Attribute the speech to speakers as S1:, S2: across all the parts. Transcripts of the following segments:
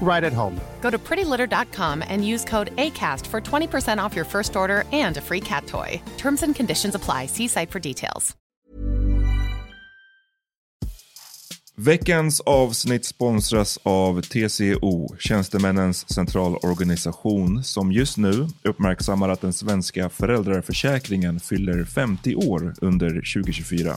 S1: right at home.
S2: Go to prettylitter.com and use code ACAST for 20% off your first order and a free cat toy. Terms and conditions apply. See site for details.
S3: Veckans avsnitt sponsras av TCO, Tjänstemännens centralorganisation, som just nu uppmärksammar att den svenska föräldraförsäkringen fyller 50 år under 2024.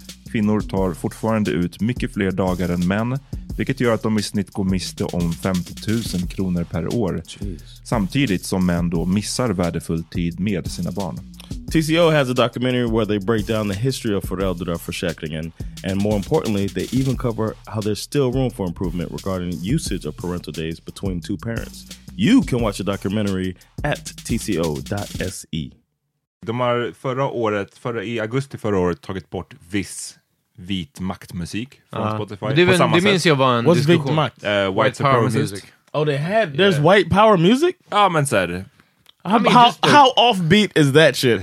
S3: Kvinnor tar fortfarande ut mycket fler dagar än män, vilket gör att de i snitt går miste om 50 000 kronor per år. Samtidigt som män då missar värdefull tid med sina barn.
S4: TCO has a documentary where they break down the history of föräldraförsäkringen and more importantly, they even cover how there's still room for improvement regarding usage of parental days between two parents. You can watch the documentary at tco.se.
S3: De har förra året, förra, i augusti förra året tagit bort viss vit maktmusik från
S5: Ja.
S3: Spotify.
S5: Men det är
S3: på
S5: väl-
S3: samma
S5: det
S3: sätt.
S5: minns jag var en What's diskussion. vit makt?
S3: Eh, white,
S5: White power
S3: supremacist.
S5: music.
S4: Oh, they had. There's white power music?
S3: Ja, men så här.
S4: How,
S5: mean,
S4: how,
S5: just the-
S4: how offbeat is that shit?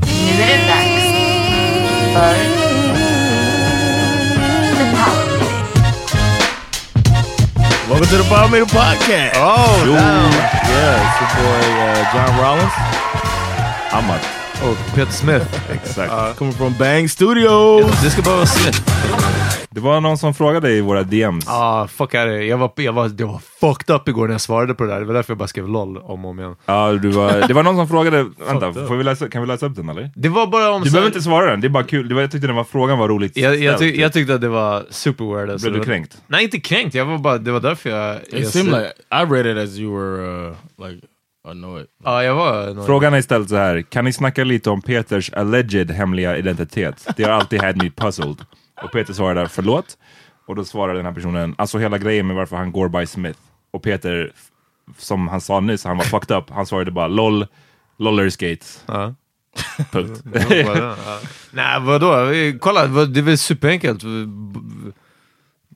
S6: Nu är det dags för The Power Meeting.
S4: Welcome to the Power Meter Podcast. Oh, yeah, it's your boy uh, John Rollins. I'm a
S5: Och Peter Smith.
S3: Exakt.
S4: Uh-huh. coming from Bang Studios.
S5: Det ska bara vara Smith.
S3: Det var någon som frågade i våra DMs.
S4: Oh,
S5: Ah, fuck är det. Jag var, jag, var, jag var fucked up igår när jag svarade på det där. Det var därför jag bara skrev LOL om och om igen.
S3: Ja, du var, det var någon som frågade, vänta, får vi läsa, kan vi läsa upp den eller?
S5: Det var bara om...
S3: Du behöver inte svara den, det är bara kul. Det var, jag tyckte den var, frågan var roligt
S5: Alltså- jag, jag,
S3: ställd. typ.
S5: tyck, jag tyckte att det var super weird. alltså.
S3: Blev du
S5: Det var-
S3: kränkt?
S5: Nej, inte kränkt. Jag var bara, det var därför jag...
S4: It
S5: jag
S4: seemed like I read it as you were uh, like annoyed.
S5: Ja, jag var... någon-
S3: Frågan är istället så här, kan ni snacka lite om Peters alleged hemliga identitet? Det har alltid had me puzzled. Och Peter svarade förlåt. Och då svarade den här personen, alltså hela grejen med varför han går by Smith. Och Peter, f- som han sa nyss, han var fucked up. Han svarade bara LOL, Lollerskate.
S5: Ja.
S3: Punkt.
S5: Det var bara- ja. Nej, vadå? Kolla, vad- det är väl superenkelt.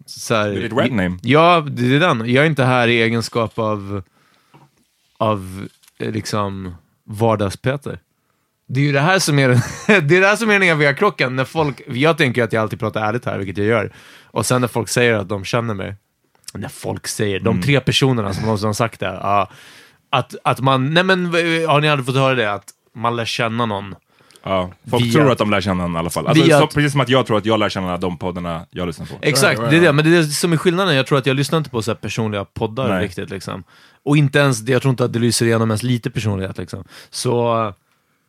S5: Så här,
S3: Det är ditt rap name.
S5: Ja, det är den. Jag är inte här i egenskap av, av eh, liksom vardagspeter. Det är ju det här som är den, det är det här som är den eviga krocken. När folk, jag tänker att jag alltid pratar ärligt här, vilket jag gör. Och sen när folk säger att de känner mig. När folk säger,
S3: Mm.
S5: de tre personerna som någonsin har sagt det. ja, att, att man, nej men eh, har ni aldrig fått höra det? Att man lär känna någon
S3: Ja, folk
S5: Via-
S3: tror att de lär känna honom i alla fall. Alltså,
S5: Via-
S3: så, precis som att jag tror att jag lär känna de poddarna jag lyssnar på.
S5: Exakt, det är det. Men det är det som är skillnaden. Jag tror att jag lyssnar inte på så här personliga poddar
S3: Nej.
S5: riktigt. Liksom. Och inte ens, jag tror inte att det lyser igenom ens lite personlighet. Liksom. Så,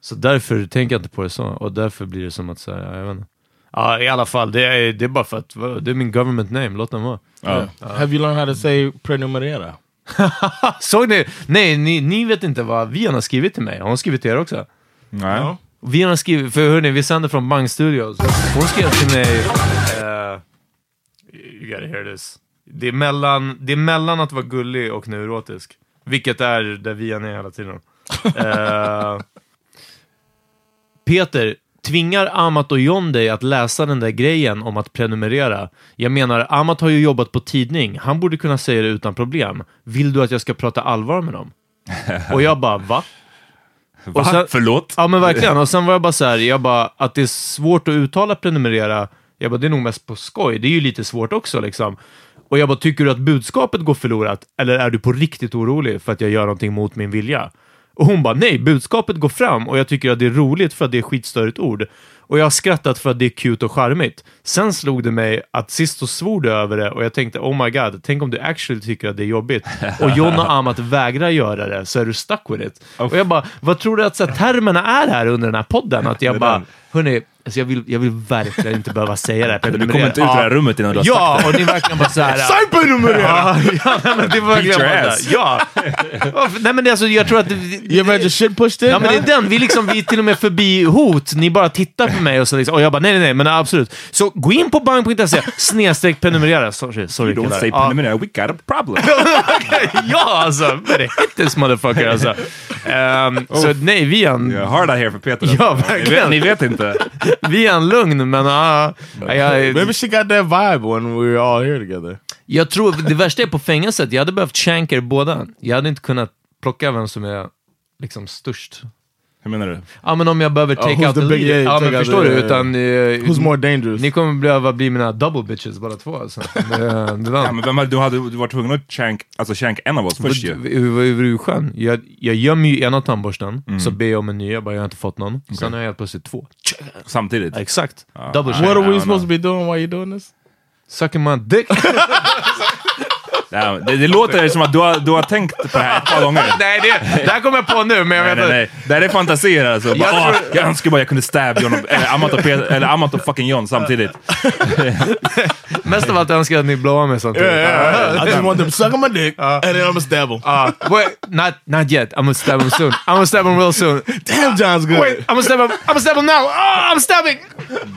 S5: så därför tänker jag inte på det så. Och därför blir det som att, så här, jag vet inte. Ja, i alla fall. Det är, det är bara för att va, det är min government name. Låt den vara.
S3: Ja.
S4: Have you learned how to say prenumerera?
S5: Såg ni? Nej, ni, ni vet inte vad Vian har skrivit till mig. Har hon skrivit till er också?
S3: Nej.
S5: Vian har skrivit, för hörni, vi sänder från Bang Studios. Hon skrev till mig... eh, you gotta hear this. Det är, mellan, det är mellan att vara gullig och neurotisk. Vilket är där Vian är hela tiden. Eh, Peter, tvingar Amat och John dig att läsa den där grejen om att prenumerera? Jag menar, Amat har ju jobbat på tidning. Han borde kunna säga det utan problem. Vill du att jag ska prata allvar med dem? Och jag bara, va?
S3: Va?
S5: Och sen-
S3: Alltså, Förlåt?
S5: Ja men verkligen, och sen var jag bara så här, jag bara, att det är svårt att uttala prenumerera, jag bara, det är nog mest på skoj, det är ju lite svårt också liksom. Och jag bara, tycker du att budskapet går förlorat, eller är du på riktigt orolig för att jag gör någonting mot min vilja? Och hon bara, nej, budskapet går fram och jag tycker att det är roligt för att det är skitstörigt ord. Och jag har skrattat för att det är cute och charmigt. Sen slog det mig att sist så svor du över det och jag tänkte, oh my god, tänk om du actually tycker att det är jobbigt. Och John och Amat vägrar göra det, så är du stuck with it. Och jag bara, vad tror du att så här, termerna är här under den här podden? Att jag bara, hörni, alltså jag, vill, jag vill verkligen inte behöva säga det här.
S3: Du kommer inte ut ur det här rummet innan du har
S5: Ja, och ni verkligen bara såhär... Cypernumrera! Ja, nej, men det var
S3: your
S5: verkligen bara
S3: ass.
S5: där. Ja. Varför- Nej men det, är alltså, jag tror att... det-
S4: You ever had your shit pushed in?
S5: Ja, men det
S4: huh?
S5: är den. Vi, liksom, vi är till och med förbi hot. Ni bara tittar på mig och, så liksom, och jag bara nej, nej, nej, men absolut. Så gå in på bang.se snedstreck prenumerera. Sorry, sorry
S3: You don't
S5: killar.
S3: say
S5: Ja.
S3: preliminary, we got a problem.
S5: ja, alltså. Better hit this motherfucker alltså. Ehm, Så nej, vi är en,
S3: Jag har det här för Peter.
S5: Ja,
S3: Ni vet,
S5: verkligen.
S3: ni vet inte.
S5: vi är en lugn, men ah, jag,
S4: Maybe she got that vibe when we were all here together.
S5: jag tror det värsta är på fängelset. Jag hade behövt shanka er båda. Jag hade inte kunnat plocka vem som är liksom störst.
S3: Hur menar du?
S5: Ja, men om jag behöver
S4: Ja,
S5: take
S4: who's
S5: out the
S4: the big
S5: leader.
S4: eight?
S5: Ja, men
S4: Take out
S5: förstår
S4: the-
S5: du? Utan, eh,
S4: Who's more dangerous?
S5: Ni kommer behöva bli mina double bitches båda två alltså. Det, det
S3: Ja, men vem hade, du hade du var tvungen att chank, alltså chank en av oss först ju.
S5: Hur du skön? Jag, jag gömmer ju ena tandborsten,
S3: Mm.
S5: så ber jag om en ny, jag bara jag har inte fått någon. Sen har jag helt plötsligt två.
S3: Samtidigt.
S5: Exakt. double
S3: nej.
S5: shit.
S4: What are
S3: I
S4: we
S3: don't
S4: supposed
S3: know.
S4: to be doing while you doing this?
S5: Sucking my dick.
S3: Ja, men det, det låter som att du har, du har tänkt på det här ett par gånger.
S5: nej, det, det här kommer jag på nu, men jag
S3: Nej,
S5: vet
S3: nej,
S5: inte.
S3: nej. Det här är fantasier alltså. Jag,
S5: Jag
S3: bara,
S5: tror-
S3: åh, jag önskar bara jag kunde stab John och, eller, Amat och Peter, eller Amat och fucking John samtidigt.
S5: Mest av allt önskar jag att ni blåar mig samtidigt.
S4: I just want them sucking my dick and then I'm a stabble.
S5: Ah, wait, not, not yet. I'm gonna stab him soon. I'm gonna stab him real soon.
S4: Damn, John's good.
S5: Wait, I'm gonna stab him. I'm gonna stab him now. Ah, I'm stabbing!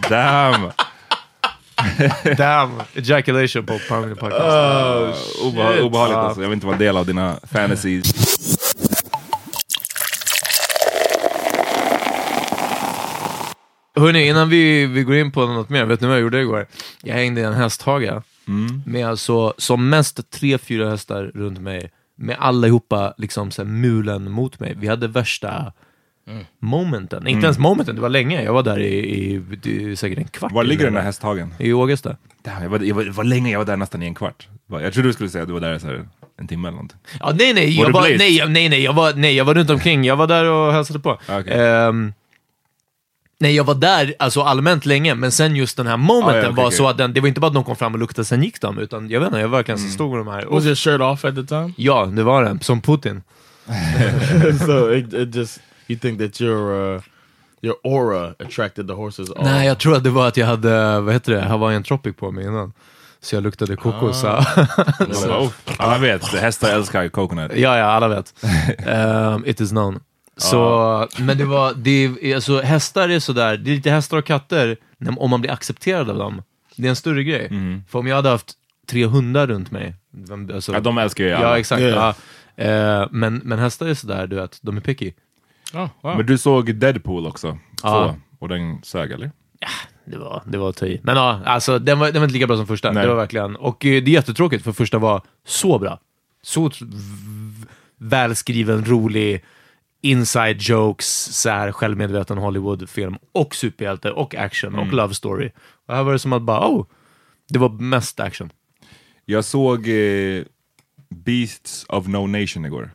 S3: Damn!
S5: Damn. Ejaculation på Pound Podcast.
S3: Obeha- obehagligt alltså. Jag vill inte vara del av dina fantasies.
S5: Uh, Hörni, innan vi, vi går in på något mer, vet ni vad jag gjorde igår? Jag hängde i en hästhage med alltså som mest tre, fyra hästar runt mig med allihopa liksom så här, mulen mot mig. Vi hade värsta momenten. Inte ens momenten, det var länge. Jag var där i, i, i säkert en kvart.
S3: Var ligger den här
S5: hästen?
S3: hästhagen?
S5: I Ågesta.
S3: Damn, jag var, jag var, det var länge jag var där nästan i en kvart. Jag trodde du skulle säga att du var där så här, en timme eller någonting.
S5: Ja, nej, nej,
S3: Var
S5: jag
S3: du
S5: var,
S3: blazed?
S5: nej, jag- nej, nej, jag var, nej, jag var runt omkring. Jag var där och hälsade på.
S3: Ah, Okej.
S5: Ehm, nej, jag var där alltså allmänt länge, men sen just den här momenten
S3: Ah, ja, okej,
S5: var
S3: okej.
S5: så att den, det var inte bara att de kom fram och luktade, sen gick de, utan jag vet inte, jag verkligen
S3: Mm.
S5: så stod med de här. Och,
S4: Was your shirt off at the time?
S5: ja, det var den, som Putin.
S4: so it, it just you think that your uh, your aura attracted the horses? all-
S5: Nej, jag tror att det var att jag hade, vad heter det, Hawaiian Tropic på mig innan. Så jag luktade kokos.
S3: Ah.
S5: så-
S3: Jag bara, "Oh, Alla vet, hästar älskar coconut.
S5: Ja, ja, alla vet. Ehm, it is known. Så, men det var, det är, alltså hästar är sådär, det är lite hästar och katter, när- om man blir accepterad av dem. Det är en större grej. För om jag hade haft tre hundar runt mig, vem- alltså,
S3: Mm. Ja, de älskar ju
S5: ja
S3: alla.
S5: exakt.
S4: Yeah.
S5: Ja. Eh, men, men hästar är sådär, du vet, de är picky.
S4: Oh, wow.
S3: Men du såg Deadpool också?
S5: Ja.
S3: Ja. Och den sög eller?
S5: Det var, det var att ta i. Men ja, alltså den var, den var inte lika bra som första.
S3: Nej.
S5: Det var verkligen, och eh, det är jättetråkigt för första var så bra. Så t- v- välskriven, rolig, inside jokes, så här självmedveten Hollywoodfilm och superhjälte och action
S3: Mm.
S5: och love story. Och här var det som att bara, oh, det var mest action.
S3: Jag såg eh, Beasts of No Nation igår.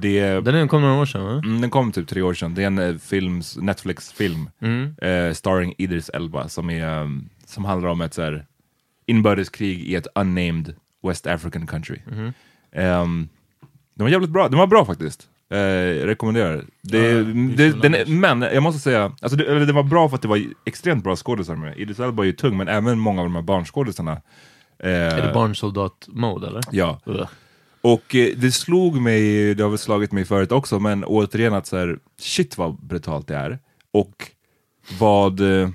S3: Det är, den,
S5: Den kom några år sedan, va?
S3: den kom typ tre år sedan. Det är en eh, films, Netflix-film
S5: Mm.
S3: eh, starring Idris Elba som, är, eh, som handlar om ett så här, inbördeskrig i ett unnamed West African country.
S5: Mm-hmm.
S3: Ehm, den var jävligt bra. Den var bra faktiskt. Eh, jag rekommenderar. Det, det, den, men jag måste säga, alltså det, eller det var bra för att det var extremt bra skådisar med. Idris Elba är ju tung, men även många av de här barnskådisarna. eh,
S5: Är det barnsoldat-mode, eller?
S3: Ja.
S5: Ugh.
S3: Och eh, det slog mig, det har väl slagit mig förut också, men återigen att så här, shit vad brutalt det är. Och vad... eh,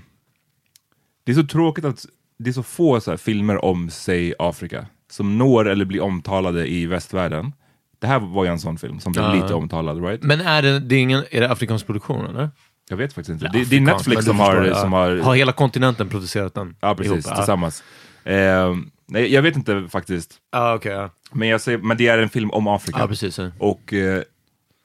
S3: Det är så tråkigt att det är så få så här, filmer om, säg Afrika, som når eller blir omtalade i västvärlden. Det här var ju en sån film som blev
S5: Ja.
S3: lite omtalad, right?
S5: Men är det, det är, ingen, är det afrikansk produktion, eller?
S3: Jag vet faktiskt inte.
S5: Eller
S3: Det, det är
S5: afrikansk, men
S3: Netflix
S5: du
S3: som har,
S5: förstår, ja.
S3: som har...
S5: Har hela kontinenten producerat den?
S3: Ja, precis.
S5: ihop?
S3: Tillsammans. Eh, nej, jag vet inte faktiskt.
S5: Ja, Ah, okej. ja.
S3: Men, jag säger, men det är en film om Afrika.
S5: Ja, precis. ja.
S3: Och eh,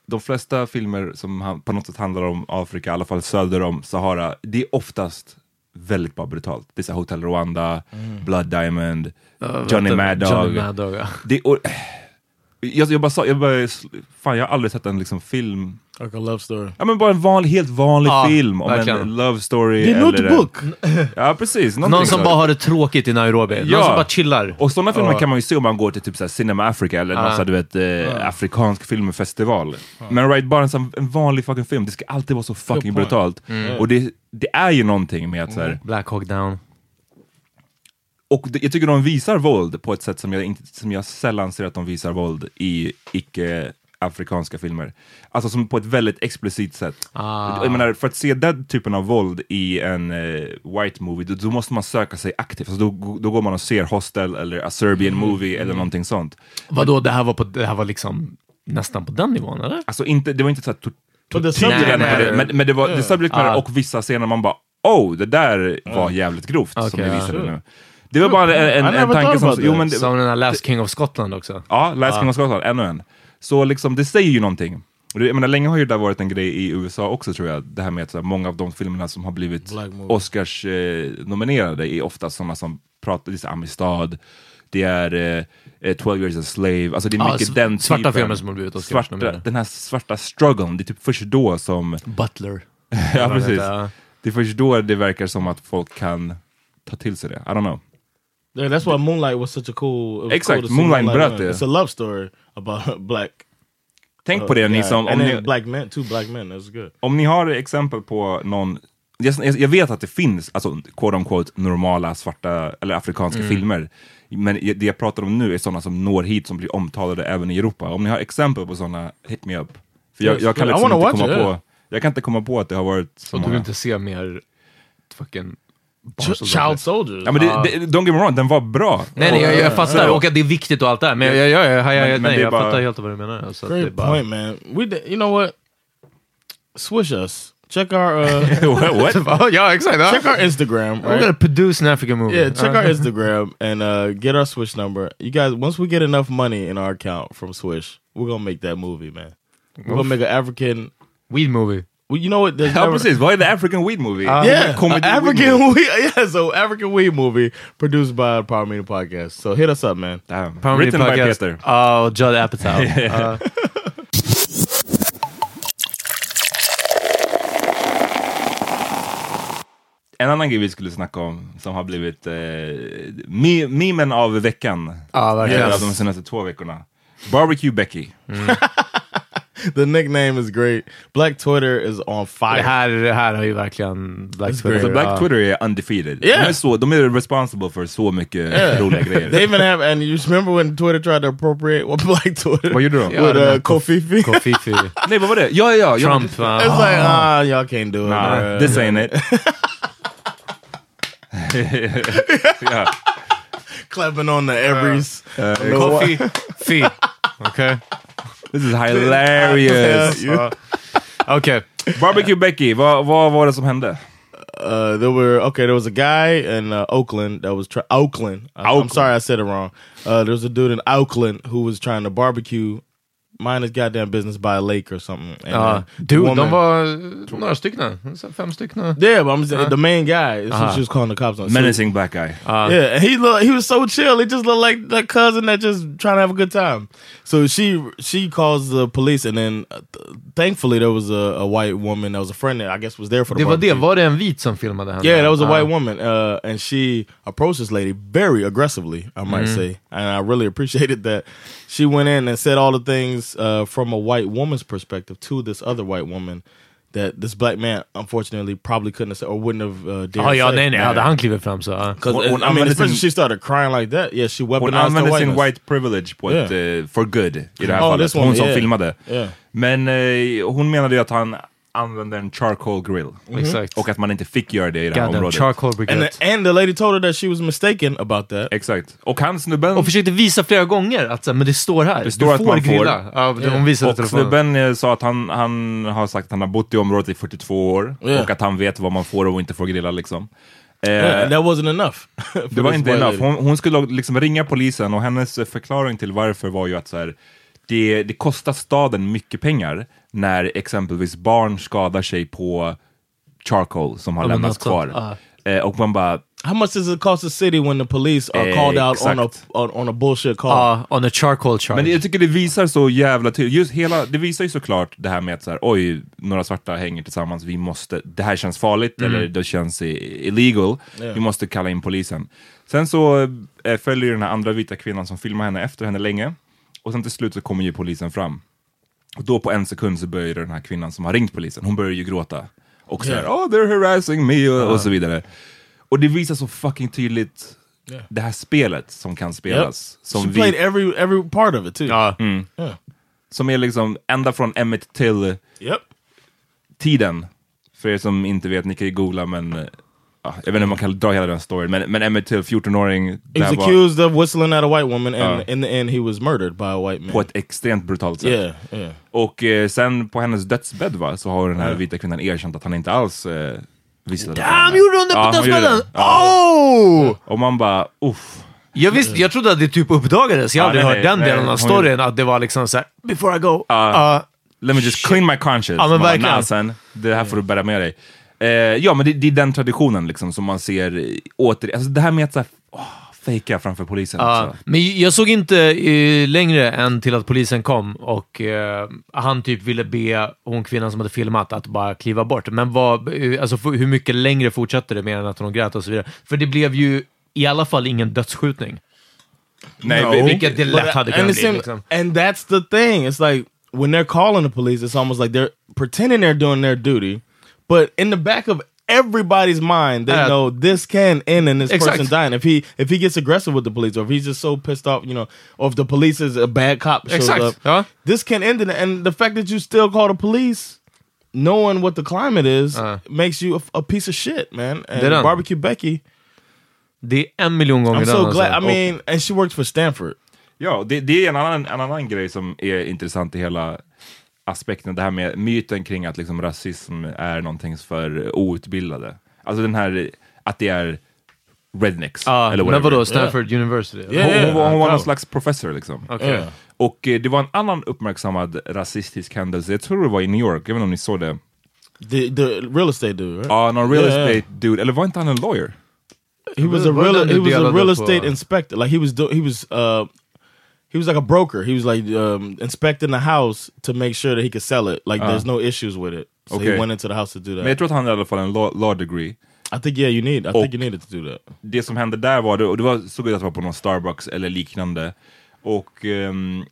S3: de flesta filmer som han, på något sätt handlar om Afrika, i alla fall söder om Sahara, det är oftast väldigt bara brutalt. Det är så här Hotel Rwanda,
S5: Mm.
S3: Blood Diamond, Johnny
S5: Vänta,
S3: Mad Dog.
S5: Johnny Mad Dog, ja.
S3: Det, och, jag, jag bara sa, jag bara, fan jag har aldrig sett en liksom film,
S4: Like a love story.
S3: ja men bara en van, helt vanlig
S5: Ja,
S3: film om en
S5: verkligen.
S3: love story.
S4: The
S3: eller-
S4: Notebook!
S3: Ja precis.
S5: Någon
S3: någonting
S5: som
S3: så.
S5: bara har det tråkigt i Nairobi.
S3: Ja.
S5: Någon som bara chillar.
S3: Och sådana filmer
S5: Ja.
S3: kan man ju se om man går till typ såhär Cinema Africa eller någon
S5: Ja.
S3: sån här, du vet, eh, afrikansk filmfestival. Men right, bara en, sån, en vanlig fucking film, det ska alltid vara så fucking
S4: point.
S3: brutalt.
S5: Mm.
S3: Och det, det är ju någonting med att så här,
S5: Black Hawk Down.
S3: och det, jag tycker de visar våld på ett sätt som jag, inte, som jag sällan ser att de visar våld i icke-afrikanska filmer. Alltså som på ett väldigt explicit sätt.
S5: Ah.
S3: Jag menar, för att se den typen av våld i en eh, white movie, då, då måste man söka sig aktivt. Alltså, då, då går man och ser Hostel eller A Serbian
S5: Mm.
S3: Movie eller någonting sånt.
S5: Vadå, det här var, på, det här var liksom nästan på den nivån, eller?
S3: Alltså inte, det var inte så här tor-
S4: But
S3: tortyr
S4: the subject
S3: eller
S5: Nej,
S3: något
S5: nej.
S3: på det, men, men det var det subject matter
S5: Ah. Mm.
S3: och vissa scener man bara oh, det där var jävligt grovt som
S5: Okej,
S3: ni
S5: ja.
S3: visade nu. Det var bara en, en,
S4: never
S3: en
S4: thought
S3: tanke som...
S4: about
S3: Jo,
S4: that.
S3: men det,
S5: Som den här Last King of Scotland också.
S3: ja, Last King of Scotland, ännu en. Så liksom, det säger ju någonting. Och det, jag menar, länge har ju det där varit en grej i USA också tror jag, det här med att så här, många av de filmerna som har blivit
S4: Black movie.
S3: Oscars-nominerade eh, nominerade är ofta sådana som pratar, det är så här Amistad, det är eh, eh, 12 years a slave, alltså det är
S5: Ja,
S3: mycket
S5: sv-
S3: den
S5: svarta
S3: typen.
S5: filmer som har blivit
S3: svarta,
S5: Oscars-nominerade.
S3: Den här svarta struggeln, det är typ först då som
S5: Butler.
S3: Ja, precis.
S5: Ja.
S3: Det är först då det verkar som att folk kan ta till sig det. I don't know.
S4: Yeah, that's why Moonlight was such a cool... it was
S3: Exakt,
S4: cool to see uh,
S3: Moonlight bröt det.
S4: It's a love story about black...
S3: Tänk på det ni
S4: guy.
S3: som, om
S4: And then
S3: ni,
S4: black men, two black men, that's good.
S3: om ni har exempel på någon, jag, jag- jag vet att det finns, alltså quote on quote, normala svarta eller afrikanska filmer. Men jag- det jag pratar om nu är sådana som når hit som blir omtalade även i Europa. Om ni har exempel på sådana, hit me up. För jag,
S4: Yes,
S3: jag kan
S4: I
S3: liksom
S4: wanna
S3: inte
S4: watch
S3: komma
S4: it, yeah.
S3: på, jag kan inte komma på att det har varit så
S5: Och du vill
S3: många.
S5: inte se mer fucking
S4: Ch- Child Soldiers.
S3: Ja men
S5: Ah.
S3: det, det, don't get me wrong, den var bra.
S5: Nej, nej, jag, jag fattar. Och att det är viktigt och allt det här. Men jag, jag, jag, jag, jag,
S3: Men- men
S5: nej,
S3: det är
S5: jag
S3: bara-
S5: fattar helt vad du menar. Alltså, att det är
S4: Great
S5: bara-
S4: point, man. We did, you know what? Swish us. Check our uh,
S3: What?
S5: ja, exakt. Ja.
S4: check our Instagram.
S5: We're gonna
S4: Right?
S5: produce an African movie. Uh,
S4: Yeah, check
S5: Ja.
S4: our Instagram and uh, get our Swish number. You guys, once we get enough money in our account from Swish, we're gonna make that movie, man. We're gonna make an African.
S5: Weed movie.
S4: Well, you know what? There's
S3: Ja
S4: never-
S3: precis, vad är the African weed movie?
S4: Yeah,
S3: Comedy
S4: a
S3: weed
S4: African
S3: movie.
S4: weed. Yeah, so African weed movie produced by Power Media Podcast. So hit us up, man.
S3: Damn.
S5: Power
S3: Written by
S5: Podcast.
S3: Peter.
S5: Oh, Judd Apatow. Uh,
S3: En annan grej vi skulle snacka om som har blivit eh, me- memen av veckan.
S5: Ja, verkligen.
S3: Eller av de senaste två veckorna. Barbecue Becky.
S4: The nickname is great. Black Twitter is on fire.
S5: det, här, det här har ju verkligen Black Twitter.
S3: Så
S5: ja.
S3: Black Twitter är undefeated.
S4: Yeah.
S3: De, är så, de är responsible för så mycket roliga grejer.
S4: They even have, and you remember when Twitter tried to appropriate what Black Twitter?
S3: Vad gjorde de?
S5: Yeah.
S4: With
S5: I
S4: uh,
S5: don't
S4: Kofi Fi. It's
S5: Kofifi.
S3: Nej vad var det? Ja, ja, ja.
S5: Trump. uh,
S4: like, ah, y'all can't do it.
S3: Nah,
S4: bruh.
S3: this ain't it.
S4: Clapping on the everys.
S5: Kofifi. Okej.
S3: Eh, This is hilarious.
S5: Ja. Okej.
S3: Barbecue Becky, vad, vad var det som hände?
S4: Uh, there were okay. There was a guy in uh, Oakland that was try Oakland. I- I'm
S3: Oakland.
S4: sorry, I said it wrong. Uh, there was a dude in Oakland who was trying to barbecue mind his goddamn business by a lake or something. And
S5: Ja.
S4: then the
S5: Dude,
S4: woman-
S5: de var eh, några stycken. Så Fem stycken.
S4: Yeah, but I'm just, the main guy. Is who she was calling the cops
S5: Alltså-
S4: on. So-
S3: Menacing black guy.
S4: yeah, and he look, he was so chill. He just looked like that cousin that just trying to have a good time. So she she calls the police, and then uh, th- thankfully there was a, a white woman that was a friend that I guess was there for the.
S5: Det var det.
S4: barbecue.
S5: Var det en vit som filmade henne? Ah.
S4: Yeah, that was a
S5: Ja.
S4: white woman, uh, and she approached this lady very aggressively, I might say, and I really appreciated that. She went in and said all the things uh, from a white woman's perspective to this other white woman that this black man, unfortunately, probably couldn't have said or wouldn't have uh, dared.
S5: Ah, Ja, ja,
S4: say.
S5: nej, nej. Hade han klivit fram så... ah. ja.
S4: Because
S3: Hon- hon
S4: I mean,
S3: använde
S4: especially
S3: sin-
S4: she started crying like that. Yeah, she
S3: Hon
S4: weaponized the
S3: använde sin
S4: whiteness.
S3: white privilege på ett,
S4: Yeah.
S3: eh, för good i det här
S4: Oh,
S3: fallet.
S4: this one,
S3: Hon som
S4: yeah.
S3: filmade.
S4: Yeah.
S3: Men eh, hon menade ju att han använde en charcoal grill.
S5: Mm-hmm. Exakt.
S3: Och att man inte fick göra det i det här
S5: Goddamn,
S3: området.
S5: charcoal
S4: and
S5: brigade.
S4: the, and the lady told her that she was mistaken about that.
S3: Exakt. Och han snubben...
S5: Och försökte visa flera gånger att så här, men det står här. Det
S3: står
S5: du
S3: att man får.
S5: grilla. Ja, det- hon visade
S3: Och snubben eh, sa att han, han har sagt att han har bott i området i 42 år
S4: Yeah.
S3: och att han vet vad man får och inte får grilla liksom. Eh,
S4: Yeah, and that wasn't enough. for
S3: det var
S4: this
S3: inte
S4: white
S3: enough.
S4: lady.
S3: Hon, hon skulle liksom ringa polisen och hennes förklaring till varför var ju att så här, det, det kostar staden mycket pengar när exempelvis barn skadar sig på charcoal som har
S5: Ja, men alltså,
S3: lämnats
S5: något sånt,
S3: kvar. Eh, och man bara,
S4: How much does it cost the city when the police are called out on a
S3: Exact.
S4: on, on a bullshit call?
S5: Ja, Ah, on a charcoal charge.
S3: Men det- jag tycker det visar så jävla tydligt, just hela, det visar ju såklart det här med att så här, oj, några svarta hänger tillsammans, vi måste, det här känns farligt,
S4: Mm.
S3: eller det känns i- illegal, vi måste kalla in polisen. Sen så eh, följer den här andra vita kvinnan som filmar henne efter henne länge, och sen till slut så kommer ju polisen fram. Och då på en sekund så börjar den här kvinnan som har ringt polisen, hon börjar ju gråta. Och så här,
S4: Yeah.
S3: oh they're harassing me, och, och så vidare. Och det visar så fucking tydligt
S4: Yeah.
S3: det här spelet som kan
S4: yep.
S3: spelas. Som
S4: She played every every part of it too.
S5: ja.
S3: som är liksom ända från Emmet till
S4: Yep.
S3: tiden. För er som inte vet, ni kan ju googla men eh, ah, jag vet inte om man kan dra hela den storyn, men, men Emmet till 14-åring,
S4: He
S3: det
S4: was
S3: här var
S4: accused of whistling at a white woman, and
S3: Uh.
S4: in the end, he was murdered by a white man.
S3: på ett extremt brutalt sätt.
S4: Yeah, yeah.
S3: Och eh, sen på hennes dödsbädd va, så har den här vita kvinnan erkänt att han inte alls eh, visste. det.
S5: Ah, men gjorde hon det på
S3: Ja, hon gjorde
S5: dödsbädden?
S3: det. Ja.
S5: Oh!
S3: Och man bara, uff.
S5: Jag, visste, jag trodde att det typ uppdagades. Jag har
S3: Ja,
S5: aldrig
S3: nej,
S5: hört
S3: nej,
S5: den
S3: nej,
S5: delen av
S3: hon-
S5: storyn. Att det var liksom såhär, before I go.
S3: Ja.
S5: ah,
S3: Let me just clean my conscience.
S5: Ja, men
S3: Man bara,
S5: verkligen.
S3: "Nah, sen, det här får du bära med dig. Eh, ja, men det, det är den traditionen liksom som man ser eh, åter... Alltså det här med att så här, åh, fejka framför polisen.
S5: Ja,
S3: också.
S5: men jag såg inte eh, längre än till att polisen kom och eh, han typ ville be hon kvinnan som hade filmat att bara kliva bort. Men vad, eh, alltså, f- hur mycket längre fortsatte det mer än att hon grät och så vidare? För det blev ju i alla fall ingen dödsskjutning.
S3: Nej,
S4: No.
S3: vi- vi-
S5: Vilket det lätt hade
S4: and,
S5: kunnat
S4: it
S5: bli.
S4: seemed-
S5: Liksom.
S4: and that's the thing. It's like when they're calling the police, it's almost like they're pretending they're doing their duty, but in the back of everybody's mind, they
S5: Uh,
S4: know this can end in this
S5: Exact.
S4: person dying. If he if he gets aggressive with the police, or if he's just so pissed off, you know, or if the police is a bad cop shows
S5: Exact.
S4: up,
S5: Huh?
S4: this can end in. And the fact that you still call the police. Knowing what the climate is
S5: Uh.
S4: makes you a, a piece of shit, man. And
S5: Did I?
S4: barbecue Becky,
S5: Det är en miljon gånger
S4: I'm
S5: den,
S4: so
S5: alltså.
S4: glad. I mean, and she worked for Stanford.
S3: Ja, det, det är en annan, en annan grej som är intressant i hela aspekten, det här med myten kring att liksom rasism är någonting för outbildade. Alltså den här, att det är rednecks,
S5: Ja,
S3: eller
S5: Ah, men
S3: whatever.
S5: vadå? Stanford University?
S4: Yeah.
S3: Hon, hon, var- hon var någon
S5: Wow.
S3: slags professor liksom.
S5: Okej.
S4: Yeah.
S3: Och eh, det var en annan uppmärksammad rasistisk händelse, jag tror det var i New York, jag vet inte om ni såg det.
S4: The the real estate dude, right?
S3: Ja, någon real
S4: Yeah.
S3: estate dude, eller var inte han en lawyer?
S4: he was a
S5: What
S4: real
S5: did
S4: he was
S5: the
S4: a
S5: other
S4: real
S5: dude for?
S4: estate inspector. Like he was do, he was uh he was like a broker. He was like um inspecting the house to make sure that he could sell it. Like there's no issues with it. So he
S3: Okay.
S4: went into the house to do
S3: Men jag
S4: that.
S3: tror att han hade i alla fall en law, law degree.
S4: I think yeah, you need I think
S3: Och-
S4: you needed to do that.
S3: det som hände där var, det- och det var, såg ut att det var på någon Starbucks eller liknande, och ehm,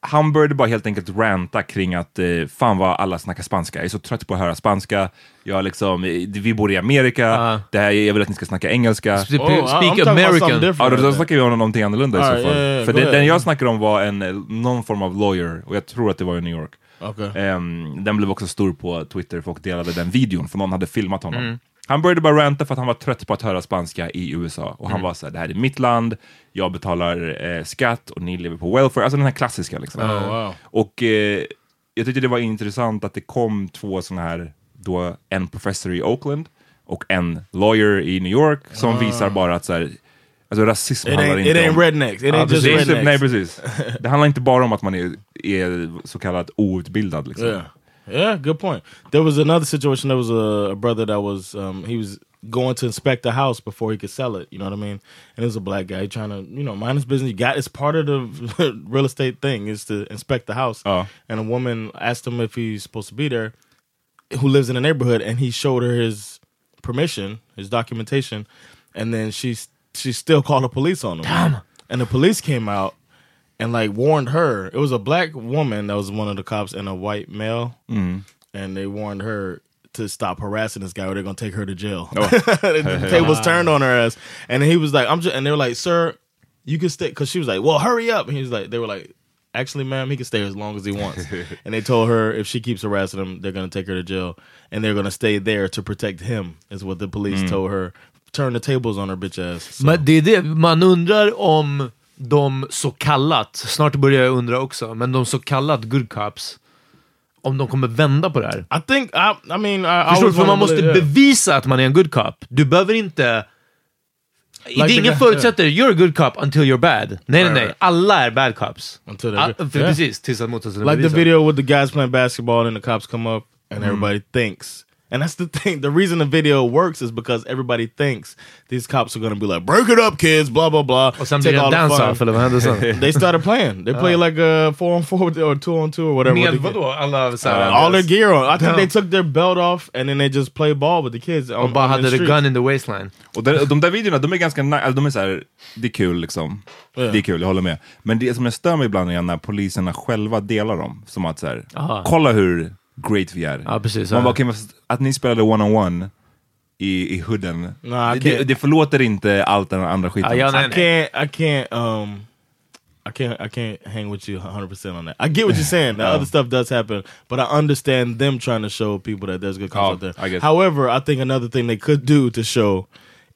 S3: han började bara helt enkelt ranta kring att eh, fan vad alla snackar spanska, jag är så trött på att höra spanska, jag liksom, eh, vi bor i Amerika,
S5: Ah.
S3: det här, jag vill att ni ska snacka engelska.
S5: Speak
S4: Oh, I'm talking about something
S5: American.
S4: different.
S3: Ja, då, då snackar vi om någonting annorlunda
S4: Ah,
S3: i så fall.
S4: ja, ja, ja,
S3: För
S4: go
S3: det,
S4: ahead.
S3: den jag snackade om var en, eh, någon form av lawyer, och jag tror att det var i New York.
S4: Okay.
S3: Ehm, den blev också stor på Twitter, folk delade den videon för någon hade filmat honom.
S4: Mm.
S3: Han började bara ranta för att han var trött på att höra spanska i USA. Och han
S4: Mm.
S3: var såhär, det här är mitt land, jag betalar eh, skatt och ni lever på welfare. Alltså den här klassiska liksom.
S4: Oh, wow.
S3: Och eh, jag tyckte det var intressant att det kom två sådana här, då en professor i Oakland och en lawyer i New York
S4: Ah.
S3: som visar bara att så här, alltså rasism
S4: It
S3: handlar
S4: ain't,
S3: inte
S4: it ain't
S3: om...
S4: rednecks. It
S3: Ja,
S4: ain't just
S3: precis.
S4: rednecks.
S3: Nej, precis. Det handlar inte bara om att man är är så kallat outbildad. Liksom.
S4: Yeah, yeah, good point. There was another situation. There was a, a brother that was um, he was going to inspect a house before he could sell it. You know what I mean? And it was a black guy trying to you know mind his business. You got it's part of the real estate thing is to inspect the house.
S3: Oh.
S4: And a woman asked him if he's supposed to be there, who lives in the neighborhood, and he showed her his permission, his documentation, and then she she still called the police on him. And the police came out and like warned her. It was a black woman that was one of the cops and a white male, and they warned her to stop harassing this guy or they're gonna take her to jail. the tables turned on her ass, and he was like, "I'm just," and they were like, "Sir, you can stay," because she was like, "Well, hurry up," and he was like, "They were like." Actually, ma'am, he can stay as long as he wants. and they told her if she keeps harassing him, they're going to take her to jail, and they're going to stay there to protect him. Is what the police told her. Turn the tables on her bitch ass. Hmm. So-
S5: Men det är det, man undrar om de så kallat, snart börjar jag undra också, men de så kallat good cops, om de kommer vända på det här.
S4: I think I, I mean I, I
S5: Förstår du?
S4: always
S5: För man
S4: wanna
S5: måste
S4: believe- yeah.
S5: bevisa att man är en good cop. Du behöver inte... det
S4: the
S5: är ingen
S4: guy-
S5: förutsätter you're a good cop until you're bad. Nej, nej, nej. Alla är bad cops.
S4: Until they're
S5: All,
S4: good.
S5: för
S4: Yeah.
S5: Precis, tills att motsatsen är
S4: like the
S5: bevisad.
S4: video with the guys playing basketball and the cops come up and
S5: Mm.
S4: everybody thinks. And that's the thing. The reason the video works is because everybody thinks these cops are gonna be like, "Break it up, kids!" Blah blah blah.
S5: Och sen blir
S4: Take
S5: det
S4: all
S5: en
S4: the fun."
S5: dance-off, eller vad händer sen?
S4: They started playing. They play like a four on four or two on two or whatever.
S5: Med
S4: with the
S5: vadå? Alla
S4: kid-
S5: såhär...
S4: all their gear on. I think
S5: Yeah.
S4: they took their belt off and then they just play ball with the kids. On,
S5: Och bara
S4: on the
S5: hade the
S4: streets.
S5: gun in the waistline.
S3: Och där, de där videorna, de är ganska nice, alltså, de är så här, det är kul liksom. Det är kul, jag håller med. Men det som jag stör mig ibland är när poliserna själva delar dem. Som att så här,
S5: Aha.
S3: kolla hur great vi är.
S5: Ja, precis,
S3: Man
S5: ja.
S3: bara, "Okej, men fast att ni spelade one-on-one i, i hooden,
S4: Nej, okej.
S3: det, det förlåter inte allt den andra skiten.
S5: Ah, Ja, jag-
S4: I
S5: Nej, nej.
S4: can't. I can't. Um, I can't. I can't hang with you 100 percent on that. I get what you're saying. The other stuff does happen, but I understand them trying to show people that there's good cops
S3: Oh,
S4: out there.
S3: I guess.
S4: However, I think another thing they could do to show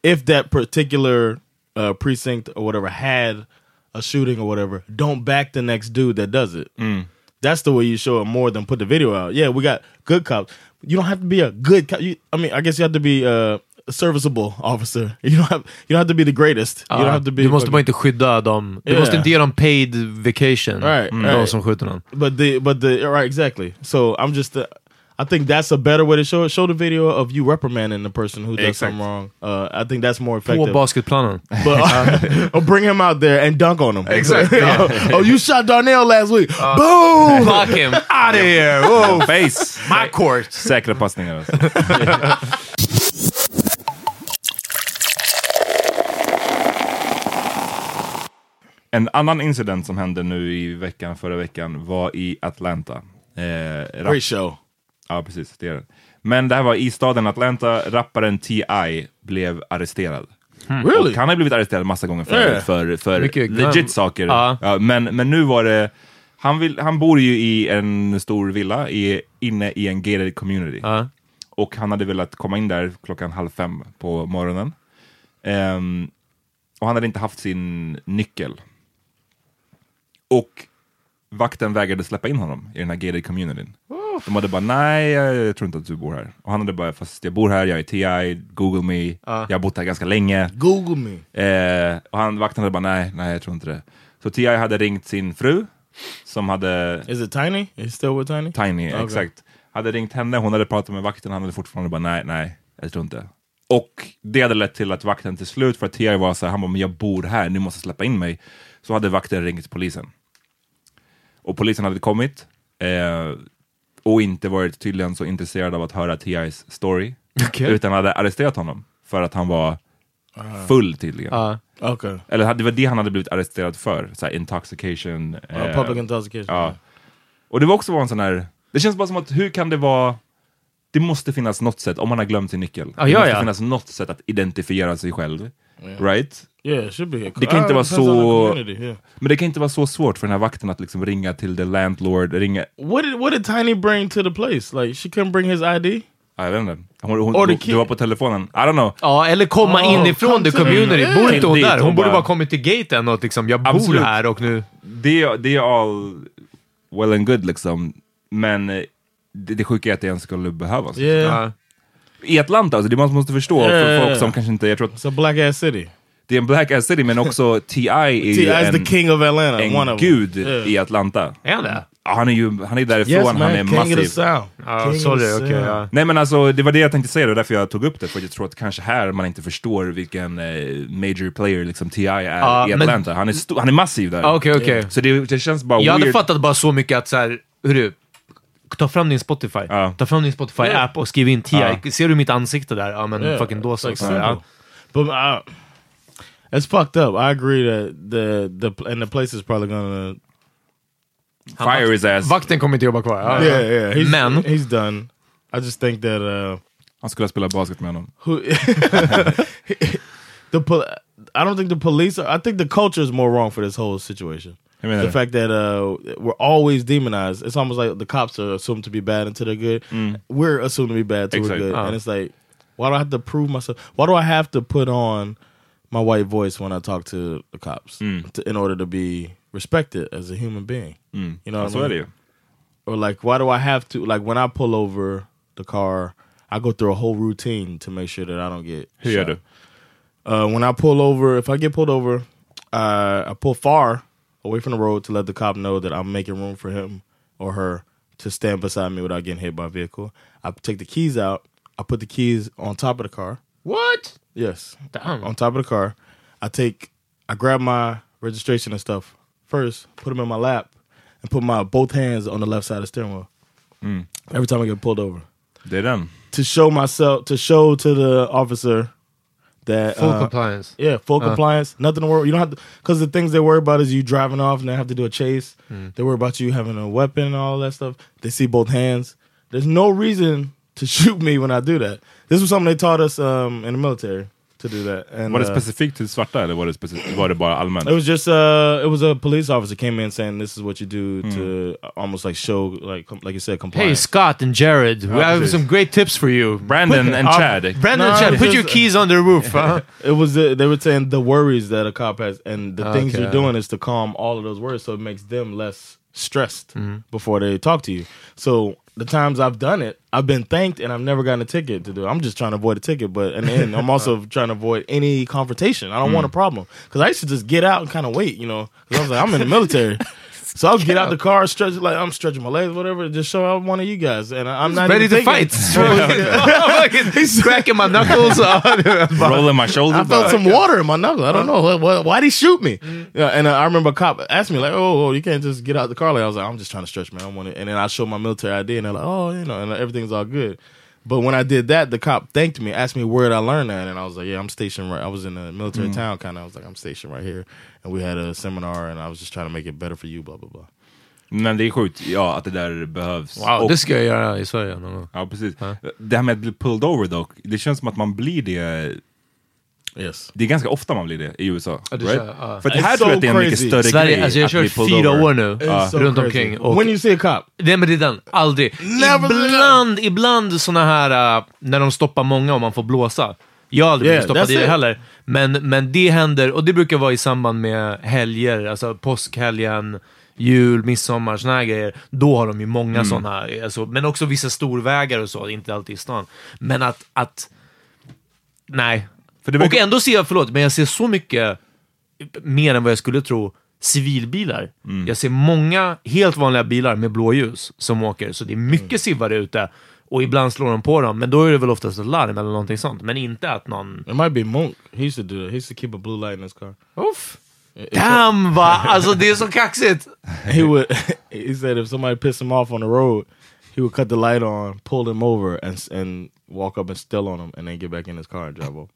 S4: if that particular uh, precinct or whatever had a shooting or whatever, don't back the next dude that does it.
S3: Hmm.
S4: That's the way you show it more than put the video out. Yeah, we got good cops. You don't have to be a good cop. You, I mean, I guess you have to be uh, a serviceable officer. You don't have you don't have to be the greatest. you don't
S5: Ja,
S4: have to be.
S5: Ah, du måste
S4: fucking-
S5: bara inte skydda dem. Du
S4: Yeah.
S5: måste inte ge dem paid vacation.
S4: Right,
S5: de
S4: right.
S5: som skjuter någon.
S4: But the but the right exactly. So I'm just uh, I think that's a better way to show it. Show the video of you reprimanding the person who does something wrong. Uh, I think that's more
S5: På
S4: effective.
S5: basketplanen.
S4: But, uh, or bring him out there and dunk on him. Exactly. oh, you shot Darnell last week. Boom.
S5: Fuck him! Out of here!
S3: Whoa, face!
S5: My court!
S3: Säkra passningar alltså. En annan incident som hände nu i veckan, förra veckan, var i Atlanta. Eh, rap-
S4: Great show.
S3: ja, precis. Det är det. Men det här var i staden Atlanta. Rapparen T.I. blev arresterad.
S4: Really?
S3: Och han har blivit arresterad massa gånger förut
S4: Yeah.
S3: för, för
S5: Mycket glam.
S3: legit saker.
S5: Ja.
S3: Ja, men, men nu var det... Han, vill, han bor ju i en stor villa i, inne i en gated community.
S5: Ja.
S3: Och han hade velat komma in där klockan halv fem på morgonen. Ehm, och han hade inte haft sin nyckel. Och vakten vägrade släppa in honom i den här gated communityn. De hade bara, nej, jag tror inte att du bor här. Och han hade bara, fast jag bor här, jag är TI, Google me, jag har bott här ganska länge.
S4: Google me.
S3: Eh, och han, vakten hade bara, nej, nej, jag tror inte det. Så TI hade ringt sin fru, som hade
S4: Is it Tiny? Is it still with Tiny?
S3: Tiny,
S4: Okay.
S3: exakt. Hade ringt henne, hon hade pratat med vakten, han hade fortfarande bara nej, nej, jag tror inte. Och det hade lett till att vakten till slut, för att Thierry var så här, han bara, men jag bor här, ni måste släppa in mig. Så hade vakten ringt polisen. Och polisen hade kommit eh, och inte varit tydligen så intresserad av att höra T.I.s story.
S5: Okej.
S3: Utan hade arresterat honom för att han var full tydligen.
S5: Ja.
S4: Okay. Uh,
S3: Eller det var det han hade blivit arresterad för, så här intoxication.
S4: Uh,
S3: eh,
S4: public intoxication.
S3: Ja. Och det var också en sån här... Det känns bara som att hur kan det vara... Det måste finnas något sätt, om man har glömt sin nyckel.
S5: Ja,
S3: det
S5: ja,
S3: måste
S5: ja.
S3: finnas något sätt att identifiera sig själv. Right?
S4: Yeah, it should be.
S3: Det kan inte
S4: Ah,
S3: vara
S4: depends on the
S3: så-
S4: community, yeah.
S3: Men det kan inte vara så svårt för den här vakten att liksom ringa till the landlord, ringa...
S4: What did what did Tiny bring to the place? Like she couldn't bring his ID.
S3: Ja, Jag vet inte. Hon, hon,
S4: Or the
S3: hon,
S4: kid-
S3: det var på telefonen. I don't know.
S5: Ja, eller komma
S4: Oh,
S5: inifrån
S4: come
S5: the
S4: to the-
S5: community.
S4: Mm.
S5: Bor inte hon
S3: Dit,
S5: där?
S3: hon
S5: Hon borde
S3: bara-
S5: bara kommit till gaten och liksom, jag bor
S3: Absolut. Eh,
S5: här och nu...
S3: Det, är- det är all well and good liksom. Men eh, det, det sjuka är att det ens skulle behövas.
S4: Yeah.
S5: Ja.
S3: I Atlanta, alltså, det man måste förstå för
S4: Yeah.
S3: folk som kanske inte... Jag tror att
S4: It's a black ass city.
S3: det är en black ass city, men också T.I. är ju
S4: T.I. is
S3: en,
S4: the king of Atlanta.
S3: en
S4: one of
S3: gud
S4: them. Yeah.
S3: i Atlanta.
S5: Är han det?
S3: Ja, han är ju han är därifrån,
S4: Yes,
S3: han är
S4: man. Ah, King of the
S3: massiv.
S4: South. King
S5: Ja,
S4: of the
S5: sorry, okej.
S4: South.
S5: ja.
S3: Nej men alltså, det var det jag tänkte säga, det var därför jag tog upp det. För jag tror att kanske här man inte förstår vilken eh, major player liksom T.I. är
S5: Ja,
S3: i
S5: men-
S3: Atlanta. Han, är sto- han är massiv där.
S5: Ja, okej, okej.
S3: Så det, det känns bara
S5: Jag hade
S3: weird.
S5: fattat bara så mycket att så här, hörru, ta fram din Spotify.
S3: Ja.
S5: Ta fram din Spotify-app och skriv in TI.
S3: Ja.
S5: Ser du mitt ansikte där? Ja, men
S4: Yeah,
S5: fucking då så.
S4: like
S5: Så här, ja.
S4: simple. But I, it's fucked up. I agree that the the and the place is probably gonna.
S3: Fire his ass.
S5: Vakten kommer inte jobba kvar. Ja,
S4: Yeah, yeah. He's,
S5: Men,
S4: he's done. I just think that uh,
S3: Han skulle ha spelat basket med
S5: Oh,
S3: honom.
S4: who the pol- I don't think the police. Are, I think the culture is more wrong for this whole situation.
S3: I mean,
S4: the
S3: uh,
S4: fact that uh, we're always demonized. It's almost like the cops are assumed to be bad until they're good. We're assumed to be bad until
S3: Mm. Exactly.
S4: we're good,
S3: Uh.
S4: and it's like, why do I have to prove myself? Why do I have to put on my white voice when I talk to the cops
S3: Mm.
S4: to, in order to be respected as a human being? You know, what
S3: Så
S4: I
S3: är
S4: mean?
S3: det ju.
S4: or like why do I have to like when I pull over the car, I go through a whole routine to make sure that I don't get
S3: Hur gör
S4: shot.
S3: du?
S4: Uh, when I pull over, if I get pulled over, uh, I pull far away from the road to let the cop know that I'm making room for him or her to stand beside me without getting hit by a vehicle. I take the keys out. I put the keys on top of the car.
S5: what?
S4: Yes.
S5: Damn.
S4: On top of the car. I take I grab my registration and stuff first, put them in my lap, and put my both hands on the left side of the steering wheel. Every time I get pulled over.
S3: Det är den.
S4: To show myself to show to the officer that
S5: Full
S4: uh,
S5: compliance.
S4: yeah, full compliance. Nothing to worry. You don't have to because the things they worry about is you driving off and they have to do a chase. They worry about you having a weapon and all that stuff. They see both hands. There's no reason to shoot me when I do that. This was something they taught us um, in the military to do that. And
S3: Var det
S5: Eh.
S4: uh,
S3: specifikt till svarta eller var det, specif- var det bara allmänt?
S4: it was just uh, it was a police officer came in saying this is what you do to almost like show like com- like you said
S5: Hey
S4: compliance.
S5: Scott and Jared, we have
S3: precis.
S5: some great tips for you.
S3: Brandon and Chad.
S5: Brandon and
S4: No,
S5: Chad,
S4: it's
S5: put
S4: just-
S5: your keys on the roof. huh?
S4: It was the, they were saying the worries that a cop has and the things
S5: Ah, Okay.
S4: you're doing is to calm all of those worries, so it makes them less stressed
S5: Mm-hmm.
S4: before they talk to you. So the times I've done it, I've been thanked and I've never gotten a ticket to do. it. I'm just trying to avoid a ticket, but in the end, I'm also trying to avoid any confrontation. I don't
S5: Mm.
S4: want a problem because I used to just get out and kind of wait, you know. 'Cause I was like, I'm in the military. So I'll get out the car, stretch like I'm stretching my legs, whatever. Just show out one of you guys, and I- I'm not
S5: Ready
S4: even
S5: to fight.
S4: thinking-
S5: He's cracking my knuckles.
S3: Rolling my shoulder.
S4: I felt
S3: bara.
S4: some water in my knuckle. I don't know. What, what, why'd he shoot me? Yeah, and uh, I remember a cop asked me, like, oh, oh, you can't just get out the car. Like, I was like, I'm just trying to stretch, man. I want it. And then I showed my military ID, and they're like, oh, you know, and everything's all good. But when I did that, the cop thanked me, asked me where did I learn that, and I was like, yeah, I'm stationed right. I was in a military town, kind of. I was like, I'm stationed right here, and we had a seminar, and I was just trying to make it better for you, blah blah blah.
S3: Men det är sjukt, ja, att det där behövs.
S5: wow,
S3: Och-
S5: det ska jag göra i Sverige någon gång.
S3: Ja, precis. Det här med att bli pulled over dock, det känns som att man blir det
S4: Yes.
S3: Det är ganska ofta man blir det i USA.
S5: Ja, det
S3: right?
S5: kör jag, ja.
S3: För att
S4: It's
S3: här
S4: so
S3: tror jag att det är en mycket
S4: crazy.
S3: större grej.
S5: Sverige, alltså jag har
S3: att bli
S5: kört
S3: pulled
S5: fyra
S3: over.
S5: år nu
S4: It's so
S5: runt
S4: crazy.
S5: omkring. Och,
S4: When you see a cop,
S5: nej men det är den, aldrig. Ibland, ibland såna här, äh, när de stoppar många och man får blåsa. Jag har aldrig
S4: Yeah,
S5: blivit stoppad
S4: that's
S5: i det
S4: it.
S5: heller. Men, men det händer, och det brukar vara i samband med helger, alltså påskhelgen, jul, midsommar, såna här grejer. Då har de ju många såna här, alltså, men också vissa storvägar och så, inte alltid i stan. Men att, att nej.
S3: För det verkar-
S5: Och ändå ser jag, förlåt, men jag ser så mycket mer än vad jag skulle tro, civilbilar. Jag ser många helt vanliga bilar med blåljus som åker, så det är mycket sivare ute. Och ibland slår de på dem, men då är det väl oftast ett larm eller någonting sånt. Men inte att någon...
S4: it might be Monk. He used to do that. He used to keep a blue light in his car.
S5: Uff. Damn va! Alltså det är så kaxigt!
S4: he would he said if somebody pissed him off on the road, he would cut the light on, pull them over, and s- and walk up and steal on them, and then get back in his car and drive off.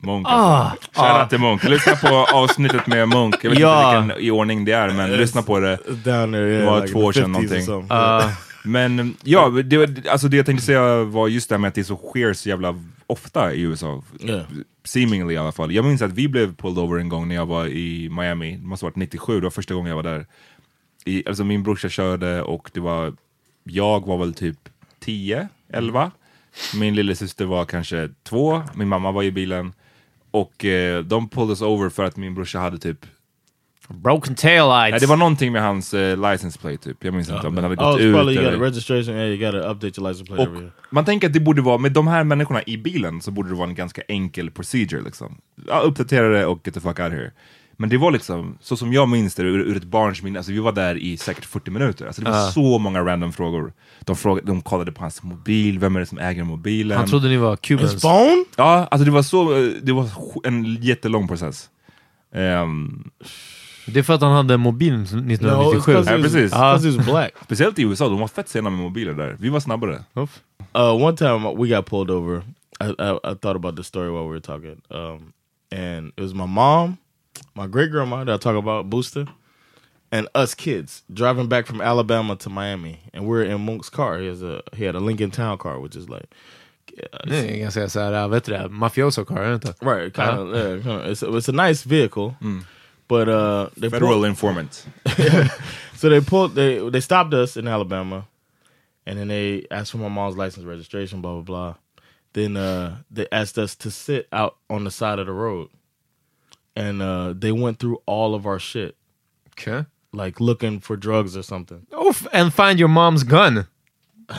S3: Monk. Ah, Shoutout till Monk. Lyssna på avsnittet med Monk. Jag vet
S5: Ah. Ja.
S3: inte vilken i ordning det är, men lyssna på det.
S4: Down there, yeah,
S3: Well,
S4: like in the
S3: torch and
S4: 50s or
S3: nothing.
S4: something.
S3: Men ja, det, var- alltså det jag tänkte säga var just det här med att det så sker så jävla ofta i USA.
S4: Ja.
S3: Seemingly i alla fall. Jag minns att vi blev pulled over en gång när jag var i Miami, det måste ha varit 97, det var första gången jag var där. I, alltså min brorsa körde och det var, jag var väl typ 10, 11. Min lillasyster var kanske 2, min mamma var i bilen. Och eh, de pulled us over för att min brorsa hade typ
S5: Broken taillights.
S3: Nej, det var någonting med hans eh, license plate typ, jag minns inte om den hade
S4: oh,
S3: gått
S4: it's
S3: ut.
S4: probably you got
S3: eller-
S4: a registration. Yeah, you got to update your license plate
S3: Och
S4: every year.
S3: man tänker att det borde vara, med de här människorna i bilen så borde det vara en ganska enkel procedure liksom. Ja, uppdatera det och get the fuck out of here. Men det var liksom, så som jag minns det ur, ur ett barns minne, alltså vi var där i säkert 40 minuter. Alltså det var
S5: Ja.
S3: så många random frågor. De, frågade, de kollade på hans mobil, vem är det som äger mobilen?
S5: Han trodde ni var
S4: His
S5: cubans.
S4: phone?
S3: Ja, alltså det var så, eh, det var sj- en jättelång process. Ehm,
S5: Det är för att han hade mobilen
S4: it's
S5: 1997.
S4: 'cause he
S3: Yeah,
S4: was-
S3: precis.
S4: it's 'cause he was black.
S3: speciellt i USA, de var fett sena med mobiler där. Vi var snabbare.
S5: Oof.
S4: uh, one time we got pulled over. I, I, I thought about this story while we were talking, um, and it was my mom, my great grandma that I talk about, Booster, and us kids driving back from Alabama to Miami, and we're in Monk's car. He has a he had a Lincoln Town car, which is like
S5: Nu är jag ganska såhär, vet du äh, det? Mafioso car, är det inte?
S4: right, kind of, yeah, kind of it's, a, it's a nice vehicle, but uh, they pulled-
S3: Federal informant.
S4: So they pulled they they stopped us in Alabama, and then they asked for my mom's license registration, blah blah blah. Then uh, they asked us to sit out on the side of the road, and uh, they went through all of our shit,
S5: Okay.
S4: like looking for drugs or something.
S5: Oof, and find your mom's gun.
S4: I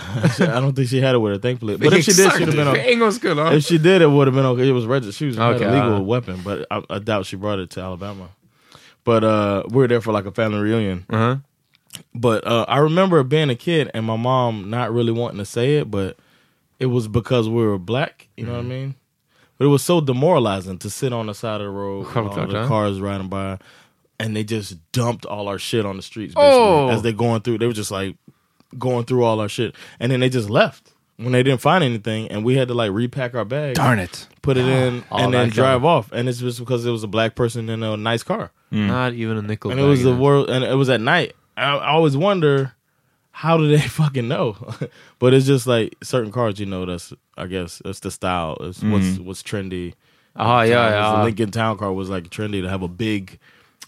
S4: don't think she had it with her, thankfully. But if she did,
S5: Exakt.
S4: she'd have been
S5: För
S4: okay.
S5: en gångs skull. ja.
S4: If she did, it would have been okay. It was registered. She was had
S5: Okay,
S4: a legal
S5: uh.
S4: weapon, but I, I doubt she brought it to Alabama. But uh, we were there for like a family reunion.
S5: Uh-huh.
S4: But uh, I remember being a kid and my mom not really wanting to say it, but it was because we were black. You know
S5: Mm-hmm.
S4: what I mean? But it was so demoralizing to sit on the side of the road, with all
S5: Självklart,
S4: the
S5: ja.
S4: cars riding by, and they just dumped all our shit on the streets. Basically,
S5: Oh.
S4: as they're going through, they were just like going through all our shit, and then they just left when they didn't find anything, and we had to like repack our bags
S3: it.
S4: put it in,
S5: All
S4: and then
S5: that kind
S4: drive
S5: of-
S4: off. And it's just because it was a black person in a nice car,
S5: Not even a nickel
S4: and it was
S5: bag
S4: the
S5: in it.
S4: world, and it was at night. I, I always wonder how do they fucking know? but it's just like certain cars, you know. That's I guess it's the style. It's what's
S5: Mm-hmm.
S4: what's trendy.
S5: Aha, ja,
S4: It's the
S5: ja.
S4: Lincoln Town Car was like trendy to have a big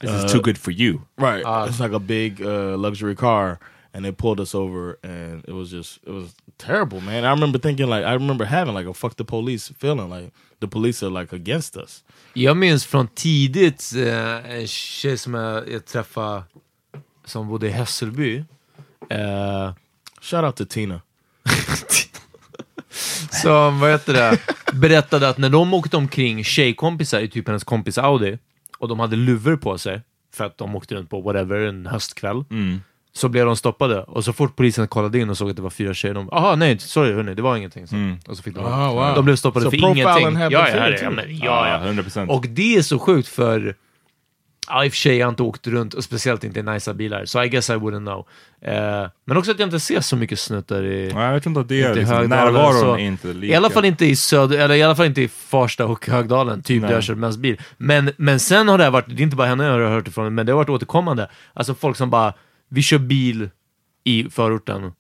S3: This is
S5: Eh.
S3: too good for you.
S4: right. it's like a big uh, luxury car. And they pulled us over, and it was just it was terrible, man. I remember thinking like I remember having like a fuck the police feeling, like the police are like against us.
S5: Jag minns från tidigt eh, en tjej som jag, jag träffade som bodde i Hässelby. Eh,
S4: Shout out to Tina.
S5: som, vad heter det, berättade att när de åkte omkring tjejkompisar i typ hennes kompis Audi och de hade luvor på sig för att de åkte runt på whatever en höstkväll.
S3: Mm.
S5: Så blev de stoppade och så fort polisen kollade in och såg att det var fyra tjejer, de aha nej sorry hörni, det var ingenting. Så.
S3: Mm.
S5: Och så fick de,
S4: Ah, wow.
S5: de blev stoppade
S4: So
S5: för
S4: profiling
S5: ingenting. Ja,
S4: happens
S5: ja,
S4: here
S5: herre,
S4: too.
S5: ja, men,
S3: Ja,
S5: ja,
S3: ja,
S5: ja.
S3: 100 procent.
S5: Och det är så sjukt för Ja, i och för sig, jag har inte åkt runt och speciellt inte i nicea bilar, så I guess I wouldn't know. Eh, men också att jag inte ser så mycket snutar i...
S3: Nej, jag tror inte att det är
S5: Inte i
S3: liksom,
S5: Högdalen,
S3: närvaron
S5: så-
S3: är inte lika.
S5: I alla fall inte i söder, eller i alla fall inte i Farsta och Högdalen, typ
S3: Nej.
S5: där jag kört mest bil. Men, men sen har det här varit, det är inte bara henne jag har hört ifrån, men det har varit återkommande. Alltså folk som bara, vi kör bil i förorten,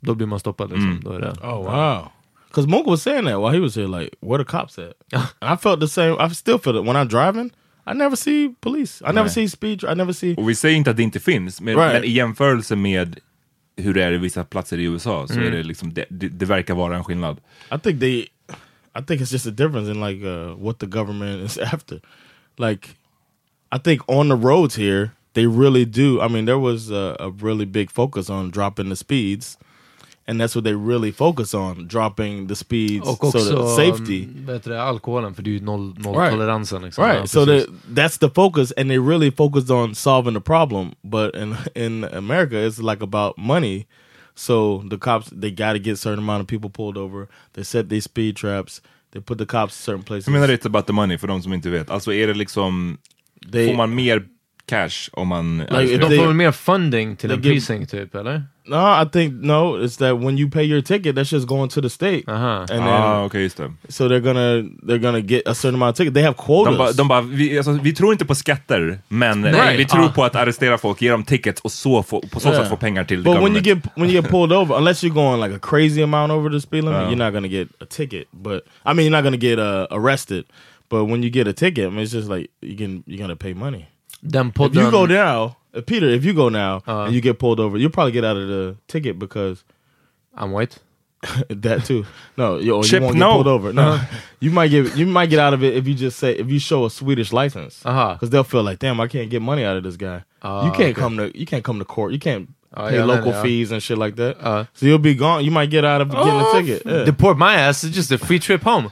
S5: då blir man stoppad liksom.
S3: Mm.
S5: Då är det.
S4: Oh wow. Cause Monk was saying that while he was here, like, where the cops at? and I felt the same. I still feel it when I'm driving. I never see police. I never
S3: Right.
S4: see speed. I never see.
S3: Och vi säger inte att det inte finns, men,
S4: Right.
S3: men i jämförelse med hur det är i vissa platser i USA så är det liksom, det, det, det verkar vara en skillnad.
S4: I think they. I think it's just a difference in like uh, what the government is after. Like, I think on the roads here they really do. I mean, there was a, a really big focus on dropping the speeds, and that's what they really focus on dropping the speeds.
S5: Och också, mm,
S4: so that safety.
S5: vad heter det, alkoholen, för det är ju noll,
S4: Right.
S5: nolltoleransen. Liksom.
S4: Right.
S5: Ja,
S4: so
S5: precis.
S4: the, that's the focus, and they really focused on solving the problem. But in in America, it's like about money. So the cops they got to get certain amount of people pulled over. They set these speed traps. They put the cops in certain places.
S3: Jag menar it's about the money för de som inte vet. Alltså är det liksom,
S4: They-
S3: får man mer cash om man...
S4: if
S5: Alltså, De
S4: they-
S5: får väl mer funding till en
S4: give-
S5: precinct typ, eller?
S4: no, I think no. It's that when you pay your ticket, that's just going to the state,
S5: Uh-huh.
S4: and then
S3: ah, okej just det.
S4: so they're gonna they're gonna get a certain amount of ticket. They have
S3: De
S4: quotas.
S3: bara, de bara vi, alltså, vi tror inte på skatter, men
S5: Nej.
S3: vi tror
S5: Ah.
S3: på att arrestera folk, ge dem tickets och så få, på så
S4: Yeah.
S3: sätt få pengar till the
S4: But when you
S3: government.
S4: get when you get pulled over, unless you're going like a crazy amount over the speed limit,
S3: Oh.
S4: you're not gonna get a ticket. But I mean, you're not gonna get uh, arrested. But when you get a ticket, I mean, it's just like you can you're gonna pay money.
S5: Den
S4: If you
S5: podden...
S4: go now, uh, Peter, if you go now and you get pulled over, you'll probably get out of the ticket because
S5: I'm white.
S4: that too. No, you, or you
S3: Chip,
S4: won't get
S3: no.
S4: pulled over. No,
S5: Uh-huh.
S4: you might get you might get out of it if you just say if you show a Swedish license because
S5: Uh-huh.
S4: they'll feel like damn I can't get money out of this guy. you can't come to you can't come to court. You can't
S5: Oh,
S4: pay
S5: yeah, I know,
S4: local
S5: yeah. Uh-huh.
S4: fees and shit like that. so you'll be gone. You might get out of getting
S5: Oh,
S4: a ticket. Yeah.
S5: Deport my ass, it's just a free trip home.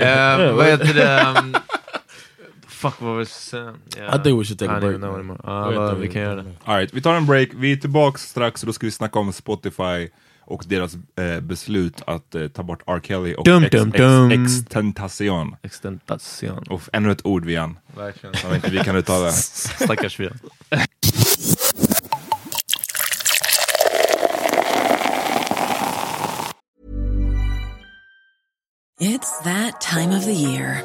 S5: Eh, vad heter det? Um, Fuck, vad var det jag skulle säga?
S4: I think we should take a
S5: I don't
S4: break,
S5: even know
S4: man.
S5: anymore. Ja,
S4: Jag vet
S5: vad-
S4: inte,
S5: vi kan
S4: jag
S5: göra
S4: vet
S5: det.
S4: inte.
S3: All right, vi tar en break. Vi är tillbaka strax och då ska vi snacka om Spotify och deras eh, beslut att eh, ta bort R. Kelly och
S5: Dum,
S3: ex,
S5: dum, dum.
S3: Ex, extentation.
S5: Extentation.
S3: Och ännu ett ord, Vian,
S5: Verkligen.
S3: som inte vi kan uttala.
S5: Stackars vi.
S7: It's that time of the year.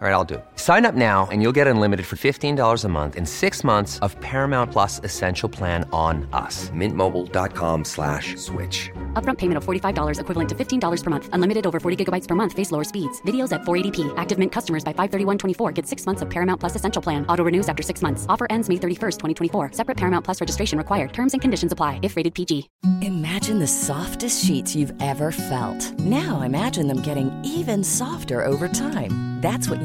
S8: All right, I'll do. it. Sign up now and you'll get unlimited for $15 a month in six months of Paramount Plus Essential Plan on us. Mintmobile.com slash switch.
S9: Upfront payment of $45 equivalent to $15 per month. Unlimited over 40 gigabytes per month. Face lower speeds. Videos at 480p. Active Mint customers by 531.24 get six months of Paramount Plus Essential Plan. Auto renews after six months. Offer ends May 31st, 2024. Separate Paramount Plus registration required. Terms and conditions apply if rated PG.
S10: Imagine the softest sheets you've ever felt. Now imagine them getting even softer over time. That's what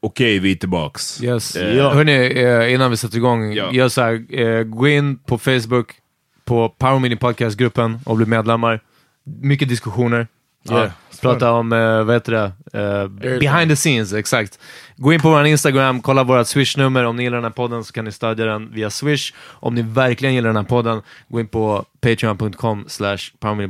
S3: Okej, vi är tillbaks.
S5: Yes.
S3: Eh,
S5: Hörni, eh, innan vi sätter igång,
S3: Ja.
S5: gör så här, eh, gå in på Facebook, på Power Mini Podcast-gruppen och bli medlemmar. Mycket diskussioner.
S4: Yeah.
S5: Ja, prata om, eh, vad heter det, eh, behind the scenes, exakt. Gå in på vår Instagram, kolla vårt Swish-nummer. Om ni gillar den här podden så kan ni stödja den via Swish. Om ni verkligen gillar den här podden, gå in på patreon.com slash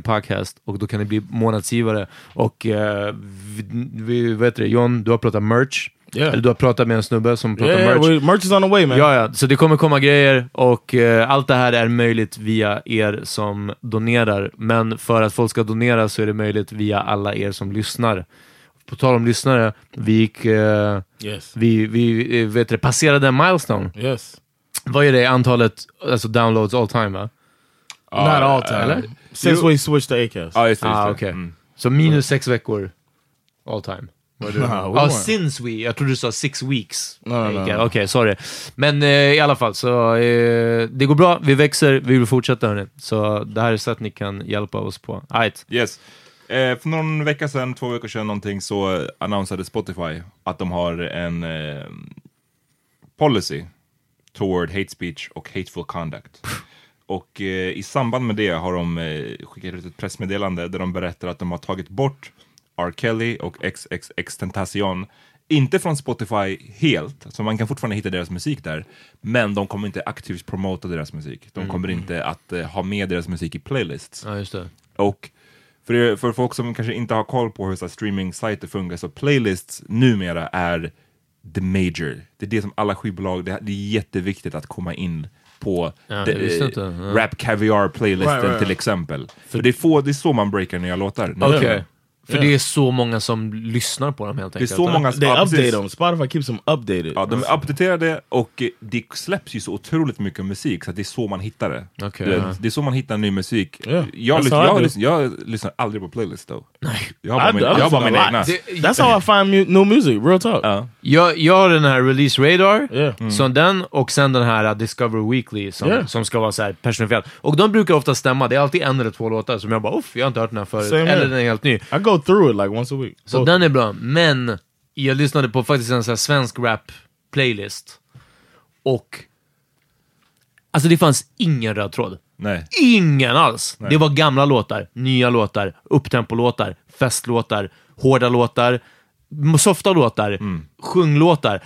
S5: podcast och då kan ni bli månadsgivare. Och eh, vi, vi, vad heter det, John, du har pratat merch.
S4: Yeah.
S5: Eller du har pratat med en snubbe som pratar
S4: Yeah, yeah,
S5: merch.
S4: we- merch is on the way, man.
S5: Ja, ja. Så det kommer komma grejer och eh, allt det här är möjligt via er som donerar. Men för att folk ska donera så är det möjligt via alla er som lyssnar. På tal om lyssnare, vi, gick, eh,
S4: Yes.
S5: vi, vi eh, vet det, passerade en milestone.
S4: Yes.
S5: Vad är det antalet alltså downloads all time? Va?
S4: Not all time.
S5: eller?
S4: Since
S3: Jo.
S4: we switched to Acast.
S3: Ja, just det. Just
S5: Ah,
S3: det.
S5: okej.
S3: Mm.
S5: Så minus sex veckor all time.
S4: Nah, we
S5: Ja,
S4: weren't.
S5: since we. Jag trodde du sa six weeks.
S4: No, no, no.
S5: Okej, Okej, sorry. Men eh, i alla fall, så eh, det går bra. Vi växer. Vi vill fortsätta hörni. Så det här är sätt ni kan hjälpa oss på. Alright.
S3: Yes. Eh, för någon vecka sedan, två veckor sedan någonting, så eh, annonserade Spotify att de har en eh, policy toward hate speech och hateful conduct. Och eh, i samband med det har de eh, skickat ut ett pressmeddelande där de berättar att de har tagit bort R. Kelly och XXX Tentacion. Inte från Spotify helt, så man kan fortfarande hitta deras musik där. Men de kommer inte aktivt promota deras musik. De kommer inte att eh, ha med deras musik i playlists.
S5: Ja, just det.
S3: Och för, er, för folk som kanske inte har koll på hur så här streaming-sajter funkar, så playlists numera är the major. Det är det som alla skivbolag, det, det är jätteviktigt att komma in på
S5: Ja,
S3: de-
S5: det visste jag inte. Ja.
S3: Rap Caviar-playlisten
S4: Right, right,
S3: till
S4: right.
S3: exempel. För det är, få, det är så man breakar nya låtar.
S5: Okej.
S3: numera.
S5: För det är så många som lyssnar på dem helt
S3: Det är
S5: enkelt.
S3: så många
S4: They
S3: ja, precis.
S4: update them. Spotify keeps them updated.
S3: Ja, de
S5: Oh,
S3: är uppdaterade och eh, det släpps ju så otroligt mycket musik så att det är så man hittar det.
S5: Okej,
S3: det,
S5: ja.
S3: det är så man hittar ny musik.
S4: Ja,
S3: Jag,
S4: that's
S3: lys-
S4: how I
S3: jag,
S4: do.
S3: lyssnar, jag lyssnar aldrig på playlist though. Nej. Jag har bara
S4: I,
S3: min-
S4: I
S3: jag har
S4: listen
S3: bara
S4: a
S3: mina
S4: lot.
S3: egna.
S5: Ah, Det-
S4: That's how I find mu new music. Real talk.
S3: Ja.
S5: Jag, jag har den här Release Radar,
S4: Yeah.
S3: Mm.
S5: så den och sen den här uh, Discover Weekly som,
S4: Yeah.
S5: som ska vara så här personifierad. Och de brukar ofta stämma, det är alltid en eller två låtar som jag bara uff, jag har inte hört den här förut.
S4: Same here.
S5: eller den är helt ny.
S4: I go through it like once a week.
S5: Så
S4: Both.
S5: den är bra, men jag lyssnade på faktiskt en så här svensk rap-playlist. Och... Alltså det fanns ingen röd tråd.
S3: Nej.
S5: Ingen alls! Det var gamla låtar, nya låtar, upptempo-låtar, festlåtar, hårda låtar, m- softa låtar,
S4: Mm.
S5: sjunglåtar.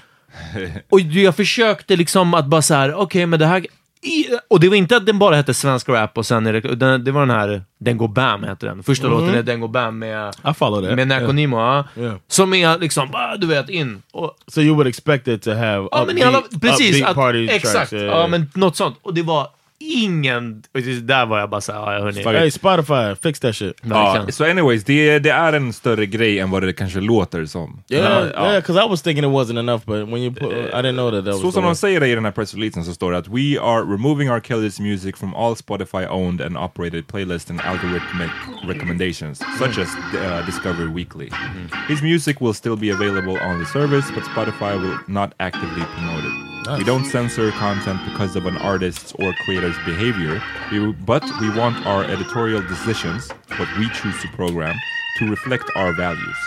S5: Och jag försökte liksom att bara så här, okej, men det här... I, och det var inte att den bara hette Svensk Rap och sen är det, den, det var den här Den går bam heter den. Första låten är Den går bam med,
S4: Mm. I follow that.
S5: med Naco
S4: Yeah.
S5: Nimo. ja.
S4: Yeah.
S5: Som är liksom, bara, du vet, in. Och,
S4: So you would expect it to have
S5: ja, men i alla,
S4: upbeat-
S5: precis.
S4: upbeat
S5: Att,
S4: party
S5: exakt.
S4: tracks. yeah,
S5: ja,
S4: yeah.
S5: men något sånt. Och det var ingen... och det- Där var jag bara såhär, ja hörni.
S4: Hey Spotify, fix that shit.
S3: Ja,
S5: verkligen.
S3: så anyways, det, det är en större grej än vad det kanske låter som.
S4: Yeah,
S3: Ja.
S4: Uh, yeah, because I was thinking it wasn't enough, but when you put, I didn't know that that was.
S3: Så
S4: the
S3: som de
S4: one.
S3: säger det i den här pressreleasen så står det att We are removing R. Kelly's music from all Spotify-owned and operated playlists and algorithmic recommendations, such as uh, Discovery Weekly.
S4: Mm-hmm.
S3: His music will still be available on the service, but Spotify will not actively promote it. We don't censor content because of an artist's or creator's behavior, we, but we want our editorial decisions, what we choose to program, to reflect our values.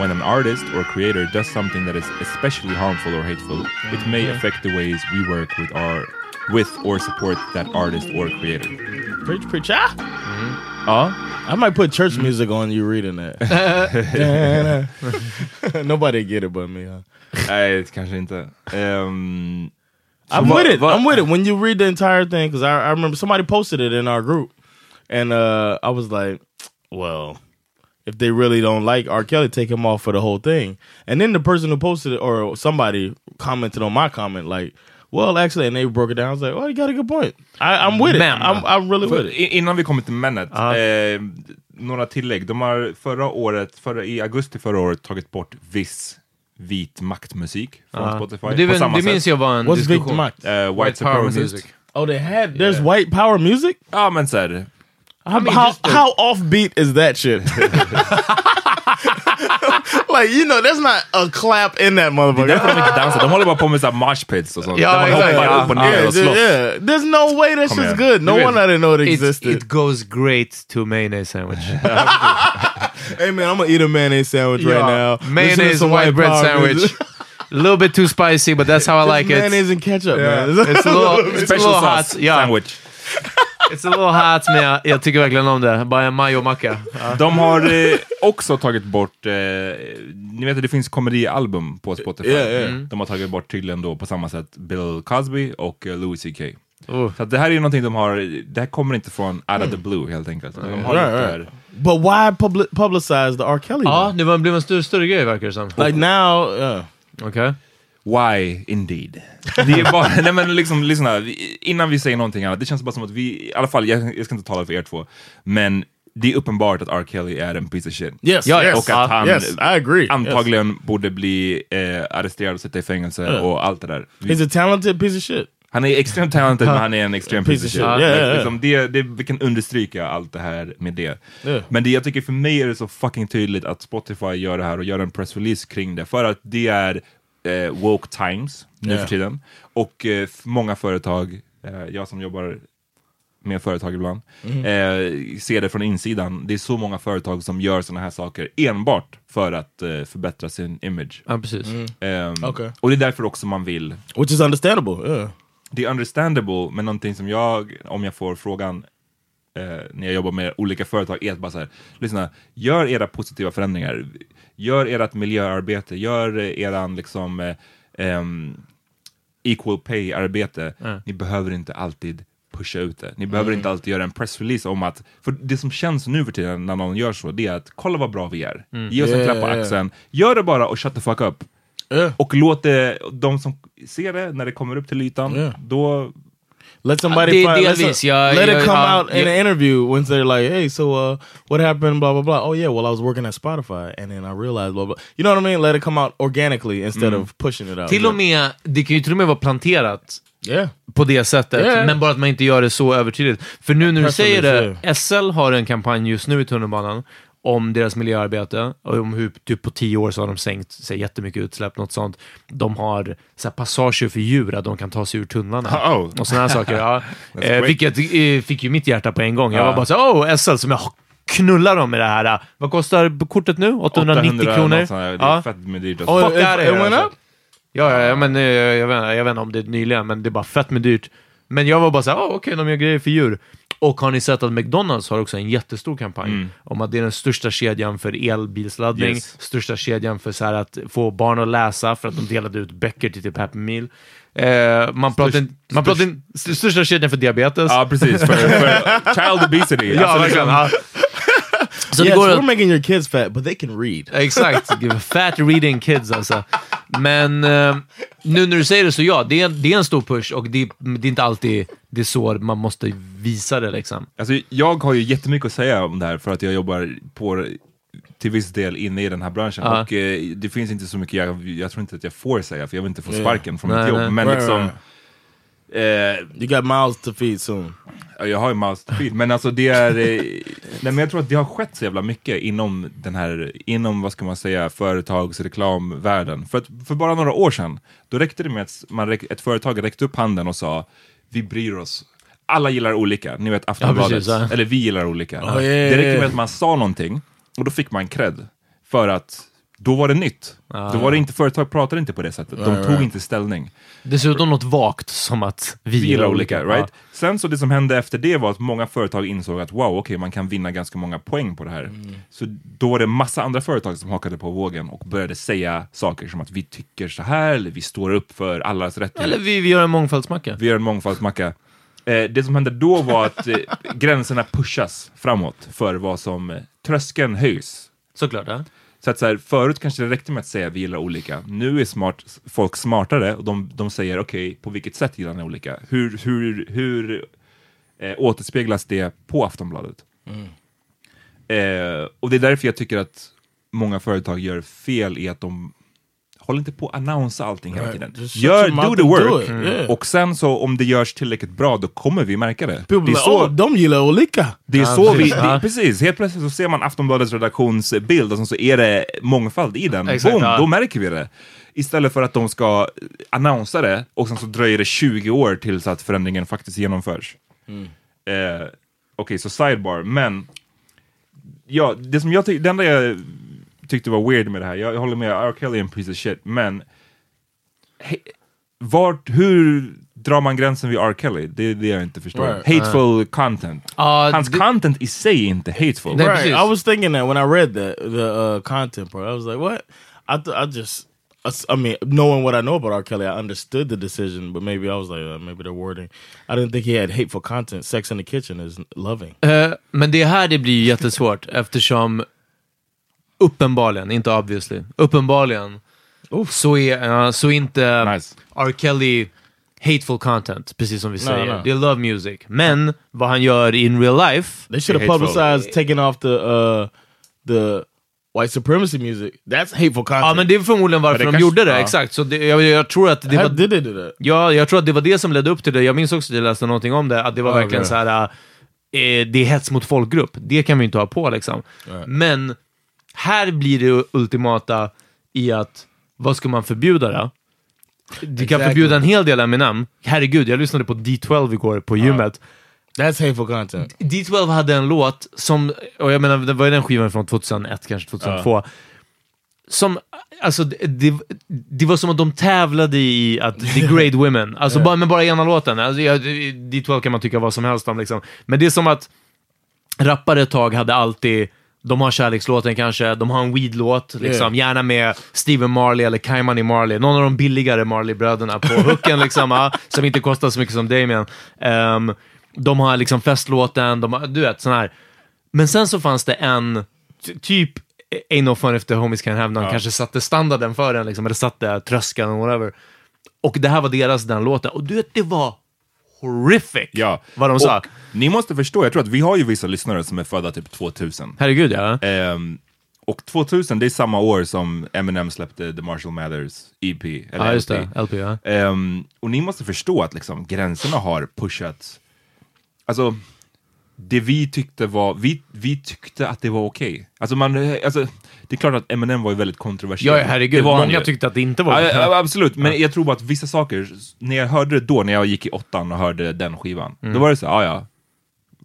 S3: When an artist or creator does something that is especially harmful or hateful, it may affect the ways we work with our with or support that artist or creator.
S4: Preach, preach, ah!
S3: Ja,
S4: I might put church music on you reading that. Nobody get it but me. Huh?
S3: nej kanske inte. Ehm,
S4: I'm
S3: So
S4: with
S3: what-
S4: it.
S3: what-
S4: I'm with it. When you read the entire thing, because I, I remember somebody posted it in our group, and uh, I was like, well, if they really don't like R. Kelly, take him off for the whole thing. And then the person who posted it, or somebody commented on my comment, like, well, actually, and they broke it down. I was like, well, you got a good point. I, I'm with
S5: Man.
S4: it. I'm, I'm really with
S3: För,
S4: it.
S3: i- innan vi kommer till männet, eh, några tillägg. De har förra året, förra, i augusti förra året, tagit bort viss vit maktmusik från Spotify.
S5: Men Det,
S3: på
S5: var-
S3: samma
S5: det minns
S3: sätt.
S5: jag var en
S4: What's Big
S5: diskussion.
S4: Mac?
S3: Eh, white, supremacist.
S4: Oh, they had. There's white power music?
S3: Ja, men såhär.
S4: How, how, how offbeat is that shit? like, you know, there's not a clap in that motherfucker.
S3: Därför de inte dansar. De håller bara på med såhär moshpits och sånt.
S5: Ja,
S3: Där man
S5: exakt,
S3: hoppar
S5: ja.
S3: upp och ner och
S4: yeah,
S3: slåss.
S4: yeah. There's no way that
S3: Come
S4: shit's
S3: here.
S4: good. No
S3: You
S4: one
S3: really-
S4: I didn't know it
S5: It's,
S4: existed.
S5: it goes great to mayonnaise sandwich.
S4: hey man, I'm gonna eat a mayonnaise sandwich
S5: Yeah.
S4: right now. Listen to
S5: Mayonnaise
S4: some
S5: and white bread
S4: power
S5: sandwich.
S4: music.
S5: A little bit too spicy, but that's how I like it.
S4: mayonnaise and ketchup, man.
S5: It's a little, it's a
S3: Special
S5: little hot.
S3: sauce
S5: Ja.
S3: sandwich.
S5: It's a little hot, men jag, jag tycker verkligen om det. Bara en majomacka. Ja.
S3: De har eh, också tagit bort, eh, ni vet att det finns komedialbum på Spotify. Mm.
S4: Yeah, yeah.
S3: De har tagit bort tydligen då på samma sätt Bill Cosby och eh, Louis CK.
S5: Oh. Mm.
S3: Så att det här är ju någonting de har, det här kommer inte från out of the blue helt enkelt. De har
S4: Right,
S3: gjort det
S4: right.
S3: här.
S4: But why publi- publicize the R. Kelly?
S5: Ja,
S4: one?
S5: det var- blev en större, större grej verkar det som.
S4: Like now, yeah.
S5: Okej.
S3: Why indeed? Det är bara, nej men liksom, lyssna, vi- innan vi säger någonting annat, det känns bara som att vi, i alla fall, jag, jag ska inte tala för er två, men det är uppenbart att R. Kelly är en piece of shit.
S4: Yes,
S5: Ja,
S4: yes, Ah,
S3: och att han
S4: yes, I agree. Yes.
S3: antagligen borde bli eh, arresterad och sitta i fängelse och allt det där.
S4: He's a talented piece of shit.
S3: Han är extremt talented men han är en extrem piece of shit.
S4: Yeah, yeah, yeah.
S3: Liksom det, det, vi kan understryka allt det här med det.
S4: Yeah.
S3: Men det jag tycker för mig är det så fucking tydligt att Spotify gör det här och gör en pressrelease kring det. För att det är eh, woke times nu
S4: Yeah.
S3: för tiden. Och eh, f- många företag, eh, jag som jobbar med företag ibland, eh, ser det från insidan. Det är så många företag som gör såna här saker enbart för att eh, förbättra sin image.
S5: Ja, precis.
S4: Mm.
S3: Ehm,
S4: Okej.
S3: Och det är därför också man vill
S4: Which is understandable, yeah.
S3: det är understandable, men någonting som jag, om jag får frågan eh, när jag jobbar med olika företag, är att bara så här, lyssna, gör era positiva förändringar. Gör ert miljöarbete, gör eh, eran liksom eh, ehm, equal pay-arbete. Ni behöver inte alltid pusha ut det. Ni behöver inte alltid göra en pressrelease om att, för det som känns nu för tiden när någon gör så, det är att kolla vad bra vi är. Ge oss en
S4: Yeah,
S3: klapp på
S4: yeah.
S3: axeln. Gör det bara och shut the fuck up.
S4: yeah.
S3: Och låt det, de som ser det, när det kommer upp till ytan,
S4: Ja.
S3: då
S4: Let somebody
S5: Det-
S4: find, let,
S5: delvis,
S4: some-
S5: yeah,
S4: let it
S5: yeah,
S4: come
S5: um,
S4: out in
S5: yeah.
S4: an interview once they're like, "Hey, so uh, what happened?" Blah blah blah. Oh yeah, well I was working at Spotify and then I realized blah blah. You know what I mean? Let it come out organically instead of pushing it out.
S5: Till och med, det kan ju till och med vara planterat
S4: yeah,
S5: på det sättet,
S4: Yeah.
S5: men bara att man inte gör det så övertydligt. För nu när du
S4: Press
S5: säger
S4: release,
S5: det, SL har en kampanj just nu i tunnelbanan om deras miljöarbete och om hur typ på tio år så har de sänkt sig jättemycket utsläpp, något sånt. De har så här, passager för djur, att de kan ta sig ur tunnlarna
S3: Uh-oh.
S5: och sådana här saker. Ja. eh,
S3: great.
S5: vilket eh, fick ju mitt hjärta på en gång. Jag
S3: Ja.
S5: var bara så här, oh, SL som jag knullar dem med det här. eh, Vad kostar kortet nu? 890 kronor?
S3: något sånt där. Det är
S5: Ja.
S3: fett med dyrt.
S5: Fuck
S3: Fuck.
S5: out of
S4: it- it
S5: here,
S4: went
S5: alltså.
S4: up?
S5: Ja, ja, ja men eh, "Ah, jag vet, jag vet inte om det är nyligen, men det är bara fett med dyrt. Men jag var bara såhär, oh, okej, de gör grejer för djur. Och har ni sett att McDonalds har också en jättestor kampanj om att det är den största kedjan för elbilsladdning,
S3: Yes.
S5: största kedjan för så här att få barn att läsa för att de delade ut böcker till typ Happy Meal. Eh, man pratar, in- man pratar in- st- största kedjan för diabetes.
S3: Ja, precis. För, för child obesity.
S5: Ja,
S3: Alltså,
S5: verkligen. Ja. liksom- Så det
S4: Yes,
S5: går
S4: we're
S5: att
S4: making your kids fat, but they can read.
S5: Exakt. Give a Fat reading kids alltså. Men eh, nu när du säger det så ja, det är, det är en stor push och det, det är inte alltid det är så man måste visa det liksom.
S3: Alltså, jag har ju jättemycket att säga om det här för att jag jobbar på till viss del inne i den här branschen
S5: Ja.
S3: och eh, det finns inte så mycket jag, jag tror inte att jag får säga för jag vill inte få sparken från mitt
S5: Nej,
S3: jobb.
S5: nej.
S3: Men
S4: Right,
S3: liksom,
S4: You got mouths to feed soon.
S3: eh, jag har ju mouse to feed, men alltså det är, eh, nej, men jag tror att det har skett så jävla mycket inom den här, inom vad ska man säga, företagsreklamvärlden. För, att, för bara några år sedan, då räckte det med att man, räck- ett företag räckte upp handen och sa vi bryr oss. Alla gillar olika, ni vet Aftonbladet,
S5: precis, ja.
S3: eller vi gillar olika.
S4: ja, ja, ja.
S3: Det räcker med att man sa någonting och då fick man cred. För att då var det nytt. Då var det inte, företag pratade inte på det sättet. De tog inte ställning.
S5: Dessutom något vagt som att vi
S3: Vi gillar olika, right?
S5: Ja.
S3: Sen så det som hände efter det var att många företag insåg att wow, okej, man kan vinna ganska många poäng på det här.
S5: Mm.
S3: Så då var det massa andra företag som hakade på vågen och började säga saker som att vi tycker så här, eller vi står upp för allas rättigheter.
S5: Eller vi, vi gör en mångfaldsmacka.
S3: Vi gör en mångfaldsmacka. Eh, det som hände då var att eh, gränserna pushas framåt för vad som... Eh, tröskeln höjs
S5: Såklart. Ja.
S3: så att så här, förut kanske det räckte med att säga vi gillar olika. Nu är smart, folk smartare och de, de säger okej, på vilket sätt gillar ni olika? Hur, hur, hur eh, återspeglas det på Aftonbladet? Eh, och det är därför jag tycker att många företag gör fel i att de håller inte på att annonsa allting hela
S4: Right.
S3: tiden.
S4: Just shut
S3: Gör,
S4: your mouth
S3: do the
S4: and do
S3: work.
S4: it. Yeah.
S3: Och sen så om det görs tillräckligt bra, då kommer vi märka det.
S4: People
S3: det är
S4: be like,
S3: så-
S4: oh, de gillar olika.
S3: det är
S5: Ja,
S3: så
S5: precis.
S3: vi,
S5: Ja.
S3: det, precis, helt plötsligt så ser man Aftonbladets redaktionsbild och sen så är det mångfald i den.
S5: Exakt,
S3: Boom,
S5: ja.
S3: då märker vi det. Istället för att de ska annonsa det och sen så dröjer det 20 år tills att förändringen faktiskt genomförs.
S5: Mm.
S3: Eh, Okej, så sidebar, men ja, det som jag tyck- det enda jag tyckte var weird med det här, jag, jag håller med, R. Kelly är en piece of shit, men he, vart, hur drar man gränsen vid R. Kelly? Det är det jag inte förstår.
S4: Right.
S3: Hateful content.
S5: Ja,
S3: Hans
S5: det-
S3: content i sig är inte hateful.
S5: Nej,
S4: Right.
S5: precis.
S4: I was thinking that when I read the the uh, content part, I was like, "What?" I th I just, I, s- I mean, knowing what I know about R. Kelly, I understood the decision, but maybe I was like, uh, maybe the wording. I didn't think he had hateful content. Sex in the kitchen is loving.
S5: Eh, men det här det blir ju jättesvårt eftersom uppenbarligen, inte obviously, uppenbarligen så är, eh, så är inte
S3: Nice.
S5: R. Kelly hateful content, precis som vi säger.
S4: no.
S5: Det är love music. Men vad han gör in real life,
S4: They should have
S3: Hateful.
S4: publicized taking off the uh, the white supremacy music. That's hateful
S5: ja
S4: content.
S5: men det är förmodligen varför
S3: det
S5: de
S3: kanske-
S5: gjorde det,
S3: ja.
S5: exakt. Så det, jag, jag tror att det
S4: How
S5: var...
S4: did they do that?
S5: Ja, jag tror att det var det som ledde upp till det. Jag minns också att jag läste någonting om det, att det var verkligen
S4: okej.
S5: så här. eh, det är hets mot folkgrupp. Det kan vi inte ha på liksom. Men här blir det ultimata i att, vad ska man förbjuda då? Du kan
S4: Exactly.
S5: förbjuda en hel del Eminem. Herregud, jag lyssnade på D12 igår på gymmet.
S4: That's hateful content.
S5: D12 hade en låt som, och jag menar, det var ju den skivan från 2001, kanske 2002. Som, alltså, det, det- det var som att de tävlade i att degrade women. Alltså, bara, men bara ena låten. Alltså, jag, D12 kan man tycka vad som helst om liksom. Men det är som att rappare ett tag hade alltid, de har kärlekslåten kanske, de har en weedlåt, liksom, gärna med Steven Marley eller Kaimani Marley, någon av de billigare Marley-bröderna på hooken, liksom, ja, som inte kostar så mycket som Damien. Ehm, de har liksom festlåten, de har, du vet, sån här. Men sen så fanns det en, ty- typ Ain't no fun if the homies can have none, kanske satte standarden för den, liksom, eller satte tröskeln, whatever. Och det här var deras, den låten. Och du vet, det var horrific
S3: Ja.
S5: vad de sa.
S3: Och Ni måste förstå, jag tror att vi har ju vissa lyssnare som är födda typ 2000.
S5: Herregud ja.
S3: Ehm, och 2000, det är samma år som Eminem släppte The Marshall Mathers EP. Eller
S5: Ja, just
S3: LP.
S5: det. LP, ja.
S3: Ehm, och ni måste förstå att liksom, gränserna har pushats. Alltså, det vi tyckte var, vi, vi tyckte att det var okej. Alltså man, eh, alltså, det är klart att Eminem var ju väldigt kontroversiell.
S5: Ja, herregud.
S3: Det var han
S5: Många
S3: ju.
S5: tyckte att det inte var
S3: Ja, ja, absolut, men jag tror bara att vissa saker, när jag hörde det då, när jag gick i åttan och hörde den skivan,
S5: Mm.
S3: då var det så här, ja ja.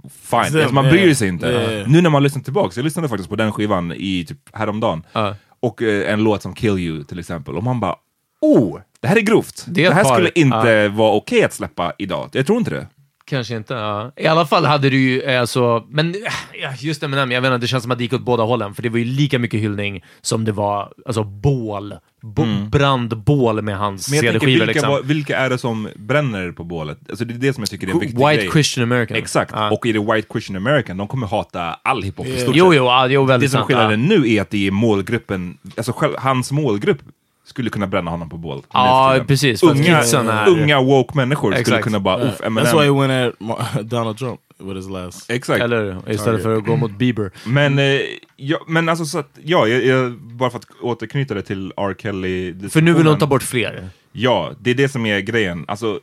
S3: Fine,
S4: Så,
S3: alltså, man
S4: ja,
S3: bryr
S4: ja.
S3: sig inte.
S4: Ja, ja, ja.
S3: Nu när man lyssnar tillbaka, jag lyssnade faktiskt på den skivan i typ häromdagen,
S5: Ja.
S3: och eh, en låt som Kill You till exempel, och man bara, oh, det här är grovt.
S5: Det
S3: Det,
S5: är ett
S3: här
S5: par-
S3: skulle inte vara okej att släppa idag. Jag tror inte det.
S5: Kanske inte, ja. I alla fall hade du ju, eh, alltså, men eh, ja, just det med jag vet inte, det känns som att det gick åt båda hållen, för det var ju lika mycket hyllning som det var, alltså bål, bo, brandbål med hans
S3: Mm. Men jag tänker, vilka,
S5: CD-skivor liksom.
S3: var- vilka är det som bränner på bålet? Alltså det är det som jag tycker är en viktig
S5: White
S3: grej.
S5: Christian American.
S3: Exakt,
S5: Ja.
S3: och är det white Christian American, de kommer hata all hiphop i stort
S5: Jo,
S3: sett.
S5: jo, ja, jo,
S3: Det
S5: väldigt
S3: som
S5: sant.
S3: skiljer
S5: Ja.
S3: den nu är att det är målgruppen, alltså själv, hans målgrupp skulle kunna bränna honom på bål.
S5: Ja,
S3: Nu för tiden.
S5: precis, för att kidsen
S3: Unga,
S5: är-
S3: unga woke människor skulle
S5: Exakt.
S3: kunna bara, uff, Eminem.
S4: That's why he went at Ma- Donald Trump with his last.
S3: Exakt.
S5: Eller istället för att gå mot Bieber.
S3: Men, eh, ja, men alltså så att, ja, jag, jag, bara för att återknyta det till R. Kelly.
S5: För nu vill de ta bort fler.
S3: Ja, det är det som är grejen. Alltså,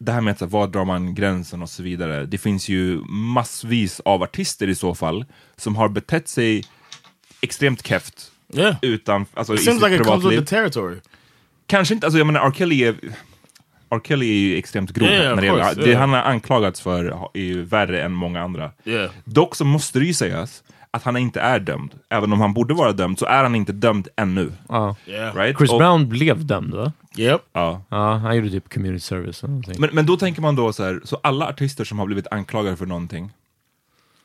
S3: det här med att så här, var drar man gränsen och så vidare. Det finns ju massvis av artister i så fall som har betett sig extremt keft
S4: Yeah. It
S3: utan, alltså, i sitt
S4: seems like it comes with
S3: privatliv.
S4: the territory.
S3: Kanske inte, alltså jag menar R. Kelly är, R. Kelly är ju extremt grov.
S4: Yeah, of
S3: när det, gäller,
S4: course,
S3: det
S4: yeah.
S3: han har anklagats för ha- är ju värre än många andra.
S4: Yeah.
S3: Dock så måste det ju sägas att han inte är dömd. Även om han borde vara dömd så är han inte dömd ännu.
S5: Ja.
S4: Yeah.
S3: Right?
S5: Chris
S3: Och-
S5: Brown blev dömd, va?
S4: Yep.
S3: Ja.
S5: Ja, han gjorde typ community service. eller någonting.
S3: Men, men då tänker man då så här, så alla artister som har blivit anklagade för någonting,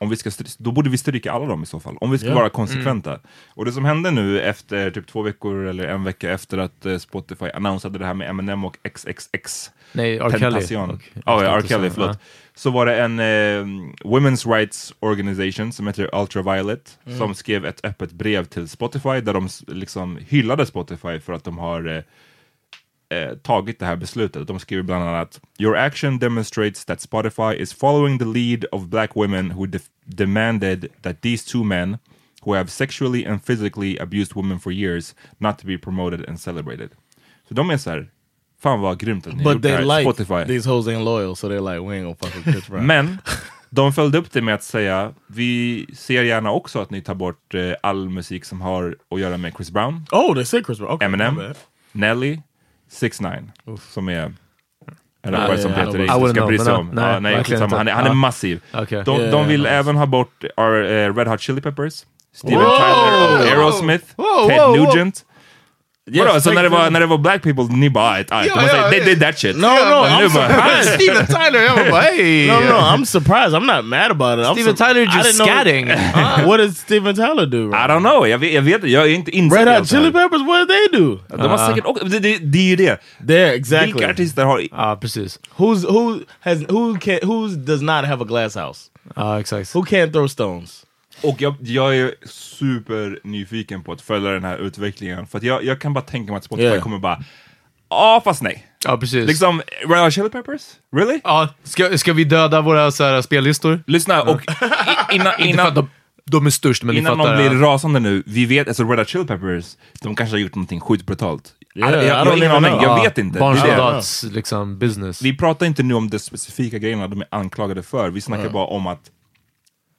S3: om vi ska stry- då borde vi stryka alla dem i så fall, om vi ska
S4: Ja. Mm.
S3: vara konsekventa. Och det som hände nu efter typ två veckor eller en vecka efter att eh, Spotify annonsade det här med Eminem och XXX
S5: Nej, Eh, R. Kelly.
S3: Tentacion.
S5: Och-
S3: Ja, ja, R.
S5: Tentacion,
S3: Kelly, förlåt. Så var det en eh, Women's Rights Organization som heter Ultraviolet som skrev ett öppet brev till Spotify där de s- liksom hyllade Spotify för att de har eh, eh, tagit det här beslutet. De skriver bland annat “Your action demonstrates that Spotify is following the lead of black women who def- demanded that these two men who have sexually and physically abused women for years not to be promoted and celebrated”. Så de är så här, fan vad grymt att ni har
S4: But
S3: gjort det
S4: they
S3: här,
S4: like
S3: Spotify.
S4: these hoes ain't loyal, so they're like, we ain't gonna fuck with Chris Brown.
S3: Men de följde upp det med att säga, vi ser gärna också att ni tar bort eh, all musik som har att göra med Chris Brown,
S4: oh, they said Chris Brown. Okay, my
S3: Eminem,
S4: bad.
S3: Nelly, 6 9 som är en
S4: Nej,
S3: rappare som
S4: I
S3: Peter
S4: don't
S3: inte
S5: know. I wouldn't
S3: ska
S5: know,
S3: bry sig
S5: men,
S3: om.
S5: nej,
S3: Ja, nej,
S5: verkligen
S3: skitsamma.
S5: inte.
S3: han, är, han är
S5: Ja.
S3: massiv.
S5: Okej.
S3: De,
S4: Yeah,
S3: de vill
S4: nice.
S3: även ha bort our, eh, Red Hot Chili Peppers, Steven
S4: Whoa!
S3: Tyler och Aerosmith,
S5: Whoa,
S3: Ted
S5: whoa, whoa.
S3: Nugent. Vadå, så
S4: take
S3: när det, var,
S4: them.
S3: när det var black people, ni bara "Aight, aight." De
S5: Ja,
S3: säger,
S5: ja, alltså,
S3: they
S5: ja.
S3: did that shit.
S4: No, no,
S3: Men nu
S4: I'm
S3: bara,
S4: surprised.
S5: Steven Tyler, jag var bara hey!
S4: No, no, I'm surprised. I'm not mad about it. I'm
S5: Steven
S4: sur-
S5: Tyler
S4: I
S5: just
S4: didn't know-
S5: scatting.
S4: Uh, what does Steven Tyler do?
S3: I don't know, jag vet, jag vet inte. jag är inte insatt
S4: Red
S3: i
S4: Hot
S3: allt det här.
S4: Chili Peppers, what did they do? Uh,
S3: De har säkert också, det, det, det är ju det.
S4: There, exactly. Ah,
S3: Vilka artister har...
S5: Ja, precis.
S4: Who's who has who can who does not have a glass house?
S5: Ja, exakt.
S4: Who can't throw stones?
S3: Och jag, jag är supernyfiken på att följa den här utvecklingen. För att jag, jag kan bara tänka mig att Spotify
S4: Yeah.
S3: kommer bara, ja fast nej.
S5: Ja, precis.
S3: Liksom, Red Hot Chili Peppers? Really?
S5: Ja, ska, ska vi döda våra så här, spellistor?
S3: Lyssna, och i- innan,
S5: Inte för att
S3: innan,
S5: de, de är störst, men
S3: innan
S5: ni
S3: någon
S5: fattar.
S3: blir
S5: ja.
S3: rasande nu, vi vet, alltså Red Hot Chili Peppers, de kanske har gjort någonting sjukt brutalt.
S4: Yeah,
S3: jag,
S4: I
S3: jag,
S4: don't
S3: har ingen
S4: even
S3: aning,
S4: know.
S3: jag vet inte. Det är det.
S5: Barnsoldats liksom, business.
S3: Vi pratar inte nu om de specifika grejerna de är anklagade för, vi
S4: Mm.
S3: snackar bara om att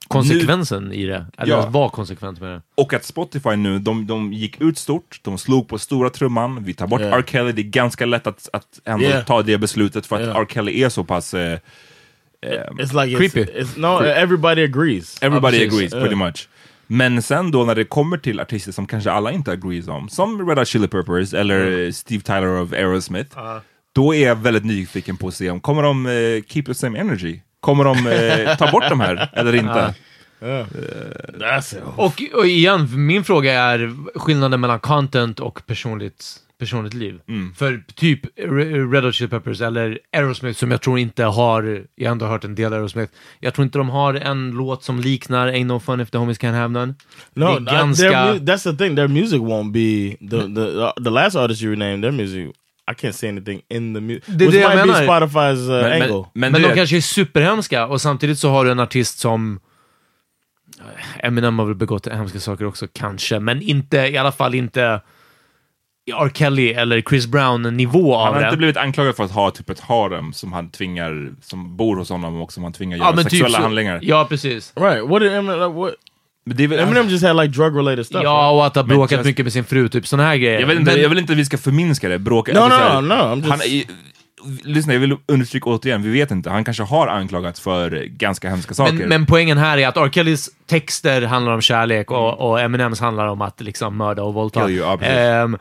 S5: Konsekvensen i det. Eller
S3: Ja.
S5: att vara konsekvent med det.
S3: Och att Spotify nu, de, de gick ut stort, de slog på stora trumman, vi tar bort
S4: Yeah.
S3: R. Kelly, det är ganska lätt att, att ändå
S4: Yeah.
S3: ta det beslutet för att
S4: Yeah.
S3: R. Kelly är så pass... Eh,
S4: It's like it's,
S5: Creepy.
S4: It's, no, everybody agrees.
S3: everybody
S5: precis.
S3: agrees, pretty much. Men sen då när det kommer till artister som kanske alla inte agrees om, som Red Hot Chili Peppers eller eh, Steve Tyler of Aerosmith, då är jag väldigt nyfiken på att se om, kommer de eh, keep the same energy? Kommer de eh, ta bort de här eller inte?
S4: That's it.
S5: Och, och igen, min fråga är skillnaden mellan content och personligt, personligt liv.
S3: Mm.
S5: För typ Re- Red Hot Chili Peppers eller Aerosmith, som jag tror inte har... Jag har ändå hört en del Aerosmith. Jag tror inte de har en låt som liknar Ain't No Fun If The Homies Can Have None.
S4: No,
S5: det är
S4: I-
S5: ganska...
S4: their, mu- that's the thing. Their music won't be the the uh, the last artist you renamed. Their music, I can't see anything in the music,
S5: Det är
S4: which
S5: det jag
S4: might be
S5: menar.
S4: Spotify's uh,
S3: Men-
S4: angle.
S5: Men,
S3: det
S5: de
S3: är-
S5: kanske är superhemska och samtidigt så har du en artist som... eh, Eminem har väl begått hemska saker också, kanske. Men inte, i alla fall inte R. Kelly eller Chris Brown-nivå av
S3: Han har
S5: det.
S3: inte blivit anklagad för att ha typ ett harem som han tvingar, som bor hos honom och som han tvingar
S5: Ja,
S3: göra
S5: men typ
S3: sexuella
S5: så-
S3: handlingar.
S5: Ja, precis.
S4: right? What did Eminem? Like, what
S3: Men det är väl,
S4: Eminem just had like drug related stuff.
S5: Ja, och att ha
S3: Men
S5: bråkat
S3: just-
S5: mycket med sin fru, typ såna här grejer.
S3: jag, vet inte,
S5: men,
S3: jag vill inte att vi ska förminska det, bråka.
S4: No, no,
S3: så här,
S4: no, I'm just-
S3: han, är- lyssna, jag vill understryka återigen, vi vet inte. Han kanske har anklagats för ganska hemska saker.
S5: men, men poängen här är att R. Kellys texter handlar om kärlek och, och Eminems handlar om att liksom mörda och våldta.
S3: Kill you, ja, precis.
S5: Ehm,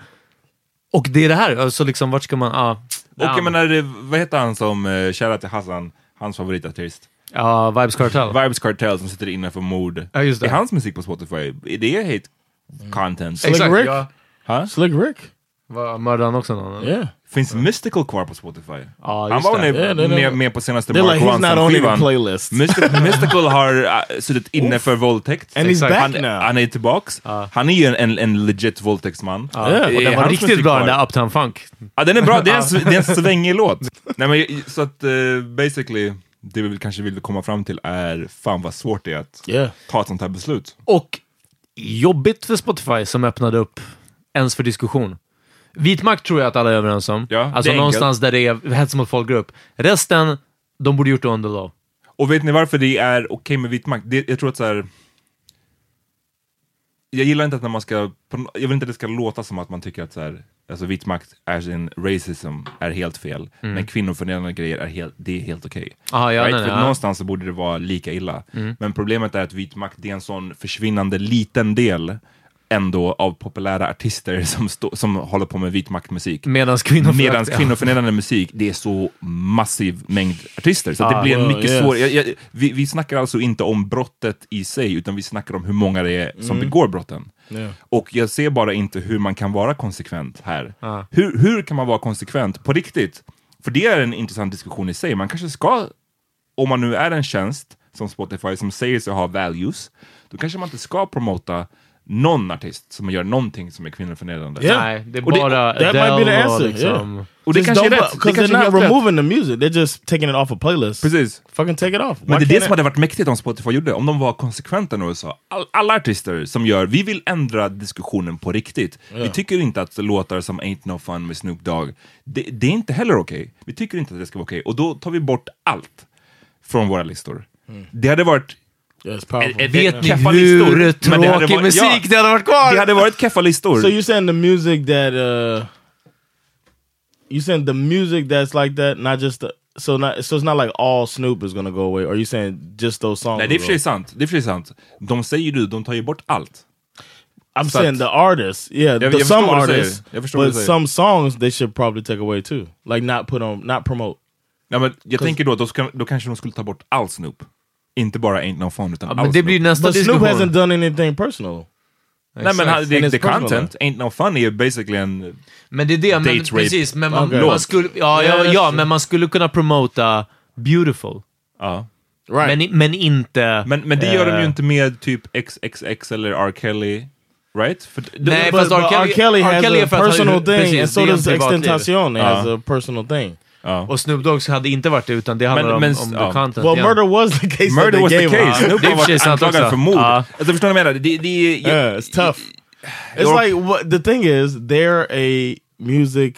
S5: och det är det här, alltså liksom vart ska man... ja.
S3: och jag menar, vad heter han som, eh, kära till Hassan, Hans favoritartist.
S5: Ja, Vibes Cartel.
S3: Vibes Cartel som sitter inne för mord.
S5: Ja, just det.
S3: Är hans musik på Spotify? Är det hate content?
S4: Slick Rick?
S5: ja.
S3: Ha?
S4: Slick Rick?
S5: Var- Mördade han också någon? eller?
S4: Yeah.
S3: Finns Mystical kvar på Spotify?
S5: Ja,
S3: han
S5: just
S3: var
S5: det.
S3: med,
S4: Ja, det- det-
S3: med, med på senaste
S4: They're
S3: Mark
S4: like, he's not on your
S3: Ronson-skivan.
S4: playlist.
S3: Mysti- Mystical har äh, suttit inne för våldtäkt.
S4: And he's
S3: Exakt.
S4: back
S3: han,
S4: now.
S3: han är tillbaks. Han är ju en, en, en legit våldtäktsman.
S5: Ah. Ja.
S4: Yeah.
S5: Och
S3: Är
S5: den var
S3: hans
S5: riktigt
S3: musik
S5: bra
S3: kvar?
S5: den där Uptown Funk.
S3: Ja, den är bra. Det är en, sv- det är en svängig låt. Nej, men, så att eh, basically, det vi kanske ville komma fram till är fan vad svårt det är att
S4: Yeah.
S3: ta ett sånt här beslut.
S5: Och jobbigt för Spotify som öppnade upp ens för diskussion. Vit makt tror jag att alla är överens om.
S3: Ja, det är
S5: alltså
S3: enkelt.
S5: någonstans där det är hets mot folkgrupp. Resten, de borde gjort det under law.
S3: Och vet ni varför det är okej med vit makt? Det, jag tror att så här. Jag gillar inte att när man ska, på nå- jag vill inte att det ska låta som att man tycker att så här, alltså vit makt är en racism är helt fel, men kvinnoförnedrande grejer är helt, det är helt okej.
S5: Ah, Mm. ja, nej,
S3: För
S5: nej, Mm.
S3: att
S5: ja.
S3: Någonstans så borde det vara lika illa. Men problemet är att vit makt det är en sån försvinnande liten del ändå av populära artister som, stå, som håller på med vit maktmusik.
S5: Medan kvinnor...
S3: Medan kvinnoförnedrande musik, det är så massiv mängd artister. Så det blir en
S4: well,
S3: mycket
S4: yes.
S3: svår... Jag, jag, vi, vi snackar alltså inte om brottet i sig, utan vi snackar om hur många det är som begår brotten.
S4: Yeah.
S3: Och jag ser bara inte hur man kan vara konsekvent här. Hur, hur kan man vara konsekvent på riktigt? För det är en intressant diskussion i sig. Man kanske ska, om man nu är en tjänst som Spotify som säger sig ha values, då kanske man inte ska promota någon artist som gör någonting som är kvinnoförnedrande.
S4: Yeah.
S5: Nej, det är
S3: Och det-
S5: bara
S4: that might be the
S5: Adele och
S4: answer,
S5: liksom...
S4: yeah.
S3: Och det
S4: Just
S3: kanske är
S4: don't-
S3: rätt. Det
S4: 'cause
S3: kanske är
S4: they're
S3: helt
S4: not
S3: rätt.
S4: removing the music. They're just taking it off a playlist.
S3: Precis.
S4: Fucking take it off.
S3: Men
S4: Why
S3: det är det
S4: can't
S3: som hade varit mäktigt om Spotify gjorde, om de var konsekventa nu och sa all, alla artister som gör, vi vill ändra diskussionen på riktigt. Vi tycker inte att låtar som Ain't No Fun med Snoop Dogg, det, det är inte heller okej. Vi tycker inte att det ska vara okej och då tar vi bort allt från våra listor. Det hade varit
S4: Yeah, it's powerful.
S3: eh,
S5: Mm. Vet ni
S3: keffa
S5: hur
S3: listor, men det hade
S5: tråkig
S3: varit-
S5: musik
S3: ja.
S5: det hade varit kvar?
S3: det hade varit keffa listor.
S4: So you're saying the music that uh you saying the music that's like that, not just the, so not so it's not like all Snoop is gonna go away. Or you saying just those songs?
S3: Nej, det är i och för
S4: will
S3: sig
S4: go-
S3: sant. Det är i och för sig sant. De säger ju, de tar ju bort allt.
S4: I'm
S3: så
S4: saying
S3: att-
S4: the artists, yeah,
S3: Jag-
S4: the,
S3: jag förstår
S4: some
S3: vad du säger.
S4: artists,
S3: Jag förstår vad du
S4: but
S3: säger.
S4: some songs they should probably take away too, like not put on, not promote.
S3: Nej, men jag tänker då, då, ska, då kanske de skulle ta bort all Snoop. Inte bara Ain't No Fun, utan
S5: Ja,
S3: all
S5: men det
S3: Snoop.
S5: blir nästa
S4: But Snoop
S5: diskussion.
S4: hasn't done anything personal.
S3: Nej men han-
S4: And
S3: det,
S4: it's
S3: the
S4: personal.
S3: content, ain't no fun, är ju basically en...
S5: Men det är det,
S3: Date
S5: men,
S3: rape.
S5: precis. Men man,
S4: Okej.
S5: man skulle, ja, ja,
S4: Yes.
S5: ja, men man skulle kunna promota Beautiful.
S3: Ja.
S4: Right.
S5: Men, men inte...
S3: Men, men det gör de
S5: eh,
S3: ju inte med typ XXX eller R. Kelly, right? För,
S5: Nej,
S4: but,
S5: fast
S4: but R. Kelly
S5: R.
S4: has
S5: Kelly är
S4: a
S5: för att han-
S4: personal thing,
S5: precis,
S4: and
S5: det
S4: so
S5: är en
S4: does
S5: privatliv.
S4: Extentacion has
S3: Ja.
S4: a personal thing.
S5: Och Snoop Dogg hade inte varit det, utan det handlar
S3: Men-
S5: om,
S3: men-
S5: om
S3: ja.
S5: the content.
S4: Well,
S5: ja.
S4: murder was the case. that
S3: murder
S4: they
S3: was the
S4: gave him.
S3: case, Snoop
S5: Det är
S3: har
S5: i och för sig
S3: varit
S5: sant
S3: anklagad
S5: också.
S3: för mord.
S5: Ja.
S3: Alltså förstår ni vad jag menar? Det, det, jag,
S5: Eh.
S4: Yeah, it's tough. It's
S3: Or-
S4: like what the thing is. They're a music.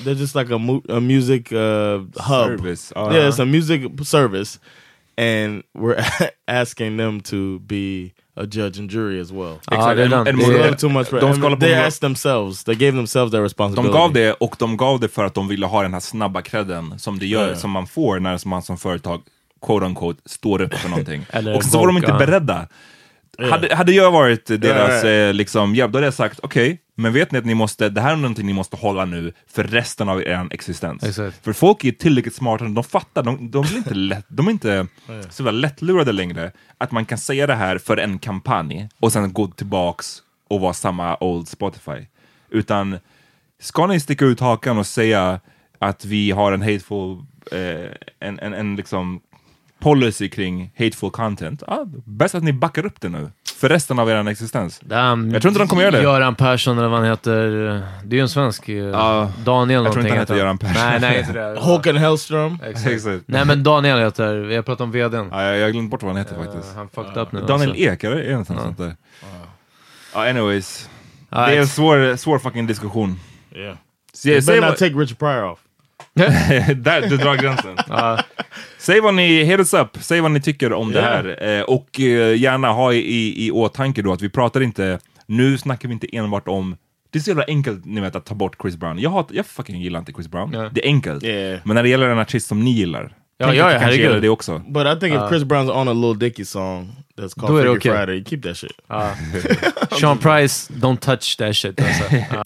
S4: They're just like a mu a music uh, hub.
S3: Service,
S4: Yeah,
S3: uh-huh.
S4: it's a music service, and we're asking them to be a judge and jury as well.
S5: Ja, det är den.
S3: en- en
S4: It's a
S3: moralisk-
S4: little too much. For,
S3: de
S4: and
S3: ska hålla på
S4: they
S3: med-
S4: asked themselves. They gave themselves their
S3: De
S4: responsibility.
S3: gav det och de gav det för att de ville ha den här snabba credden som, det gör, som man får när man som företag, quote unquote, står upp för någonting.
S5: Eller
S3: och så var de
S5: Vogue,
S3: inte
S5: ja.
S3: beredda. Hade, hade jag varit deras
S4: Ja, ja.
S3: eh, liksom, hjälp, då hade jag sagt okej, men vet ni att ni måste, det här är någonting ni måste hålla nu för resten av er existens.
S5: Exakt.
S3: För folk är tillräckligt smarta, de fattar, de, de, blir inte lätt, de är inte så väl lättlurade längre. Att man kan säga det här för en kampanj och sen gå tillbaks och vara samma old Spotify. Utan ska ni sticka ut hakan och säga att vi har en hateful, eh, en, en, en liksom policy kring hateful content, ah, bäst att ni backar upp det nu för resten av er existens.
S5: Damn,
S3: Jag tror inte de kommer göra det.
S5: Göran Persson eller vad han heter. Det är ju en svensk. eh,
S3: jag
S5: Daniel
S3: tror inte
S5: någonting
S3: han heter Göran Persson.
S5: Nej, nej, inte det.
S4: Håkan Hellström.
S3: Exakt.
S5: Nej, men Daniel heter... Jag pratar om vdn.
S3: Ah, jag jag har glömt bort vad han heter faktiskt.
S5: Eh, Han fucked up nu.
S3: Daniel E.
S5: alltså.
S3: Ek, är det är det något sånt där? Ja, anyways.
S5: Ja,
S3: Det är en
S5: ex-
S3: svår, svår fucking diskussion.
S4: Yeah.
S3: Säg,
S4: Better
S3: säg
S4: not
S3: vad,
S4: take Richard Pryor off.
S3: där, du drar gränsen. Säg vad ni, hit us up, säg vad ni tycker om
S4: Ja.
S3: det här. Eh, och eh, gärna ha i, i, i åtanke då att vi pratar inte, nu snackar vi inte enbart om det är så jävla enkelt ni vet, att ta bort Chris Brown. Jag, hatar, jag fucking gillar inte Chris Brown.
S5: Nej.
S3: Det är enkelt.
S4: Ja.
S3: Men när det gäller en artist som ni gillar,
S5: Ja,
S3: tänk
S5: ja,
S3: att det
S5: ja,
S3: kanske
S5: herregud.
S3: gäller det också.
S4: But I think if Chris Brown's on a Little Dicky song that's called
S5: Do it
S4: Freaky
S5: okay.
S4: Friday, you keep that shit.
S5: Sean Price, don't touch that shit. Alltså. Ja.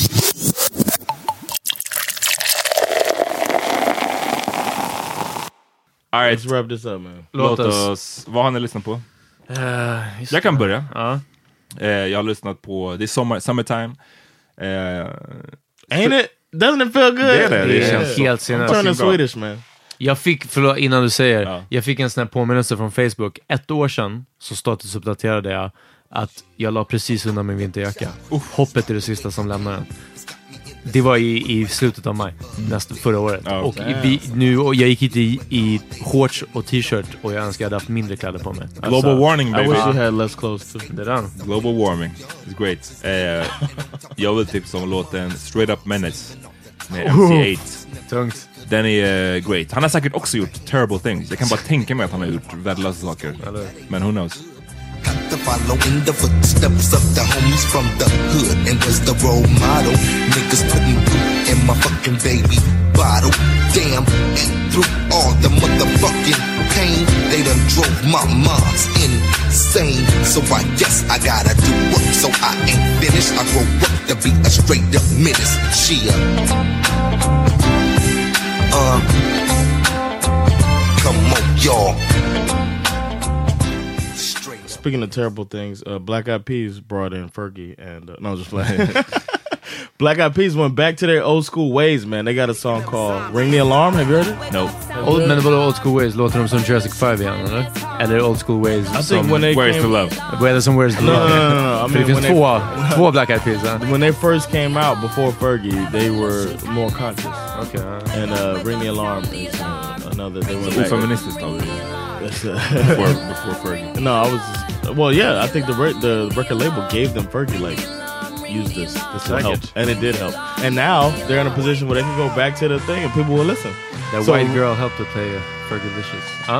S3: All right.
S4: Let's wrap this up man.
S3: Låt
S5: Låt
S3: oss.
S5: oss.
S3: Vad har ni lyssnat på?
S5: Eh, just
S3: Jag kan börja.
S5: Ja.
S3: Eh, jag har lyssnat på, det är sommar, summertime. Eh,
S4: Ain't it? Doesn't it feel good?
S3: Det är det, det
S5: Det
S3: känns
S5: är
S3: så.
S5: helt sinnes.
S4: Turning
S3: bra.
S4: Swedish man.
S5: Jag fick, förlåt innan du säger,
S3: Ja.
S5: jag fick en sån här påminnelse från Facebook. Ett år sedan så statusuppdaterade jag att jag la precis undan min vinterjacka. Hoppet är det sista som lämnar den. Det var i, i slutet av maj, nästa, förra året.
S3: Ja.
S5: och vi, nu, och jag gick hit i, i shorts och t-shirt och jag önskar jag hade haft mindre kläder på mig. Alltså,
S3: global warning
S4: I wish you
S3: baby.
S4: had less clothes too.
S5: Det där.
S3: Global warming. It's great. Eh, jag vill tipsa om låten Straight Up Menace med MC8.
S5: Tungt.
S3: Den är eh, great. Han har säkert också gjort terrible things. Jag kan bara tänka mig att han har gjort värdelösa saker. Men who knows?
S11: to follow in the footsteps of the homies from the hood and was the role model. Niggas putting poop in my fucking baby bottle. Damn, ate through all the motherfucking pain. They done drove my mom's insane. So I guess I gotta do work so I ain't finished. I grow up to be a straight up menace. She a uh, come on, y'all. Straight up.
S4: Speaking of terrible things, uh, Black Eyed Peas brought in Fergie and uh, no, I'm just playing. Black Eyed Peas went back to their old school ways, man. They got a song called "Ring the Alarm." Have you heard it?
S3: No.
S5: Old, men vadå old school ways? Låter de som Jurassic 5 igen eller? Eller old school ways
S4: I
S5: som...
S4: think when they
S3: Where's
S4: came,
S3: the love?
S5: Vad är det som Where's the
S4: No, no,
S5: Love?
S4: no, no, no. I
S5: För det
S4: mean, when
S5: finns två,
S4: they,
S5: två Black Eyed Peas, va?
S4: when they first came out before Fergie, they were more conscious.
S5: Okej. ja.
S4: And uh, "Ring the Alarm" is uh, another. They went back.
S3: Ofeministiskt av dig.
S4: That's, uh,
S3: Before, before Fergie.
S4: no, I was just, well, yeah. I think the re- the record label gave them Fergie like use this. This will help,
S5: Package.
S4: and it did help. And now they're in a position where they can go back to the thing and people will listen.
S5: That
S4: So-
S5: white girl helped to play uh, Fergie Vicious. Ja.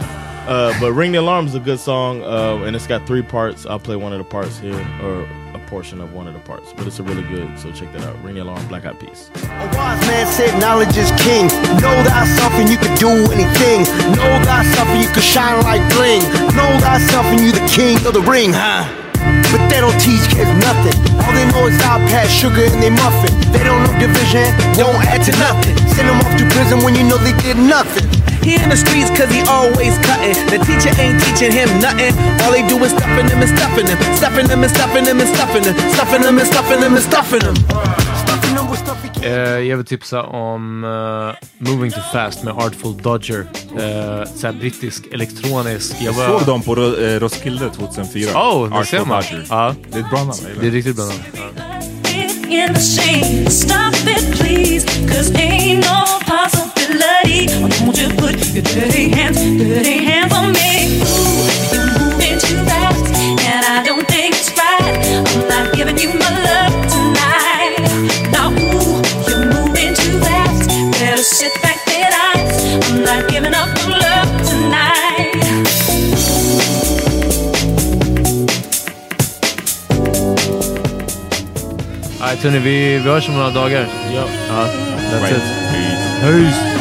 S4: Uh, but "Ring the Alarm" is a good song, uh, and it's got three parts. I'll play one of the parts here, or a portion of one of the parts. But it's a really good. So check that out. "Ring the Alarm," Black Eyed Peas.
S11: A wise man said knowledge is king. Know thyself and you can do anything. Know thyself and you can shine like bling. Know thyself and you the king of the ring, huh? But they don't teach kids nothing. All they know is iPad, sugar, and they muffin. They don't know division, don't add to nothing. Send them off to prison when you know they did nothing.
S6: He in the streets cause he always cutting. The teacher ain't teaching him nothing. All they do is stuffing him and stuffing him. Stuffing him and stuffing him and stuffing him. Stuffing him and stuffing him and stuffing him.
S11: Stuffing them with stuff he can't.
S5: Eh, jag vill tipsa om eh, Moving Too Fast med Artful Dodger. Uh, såhär brittisk elektronisk. Jag var-
S3: Såg dem på Ro- eh, Roskilde 2004.
S5: Oh, det
S3: Artful
S5: ser man.
S3: Dodger.
S5: Ja,
S3: Det är ett bra namn. jag gillar
S5: det är riktigt bra namn.
S6: In the shade, stop it please. Cause ain't no possibility. Why don't you put your dirty hands, dirty hands on me? Ooh, you're moving too fast, and I don't think it's right. I'm not giving you my love tonight. Now, ooh, you're moving too fast. Better sit back, there, I'm not giving up on love tonight.
S5: Alright Tony, vi, vi hörs om några dagar. Ja. that's
S3: Right.
S5: it.
S3: Peace.
S5: Peace.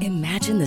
S10: Imagine the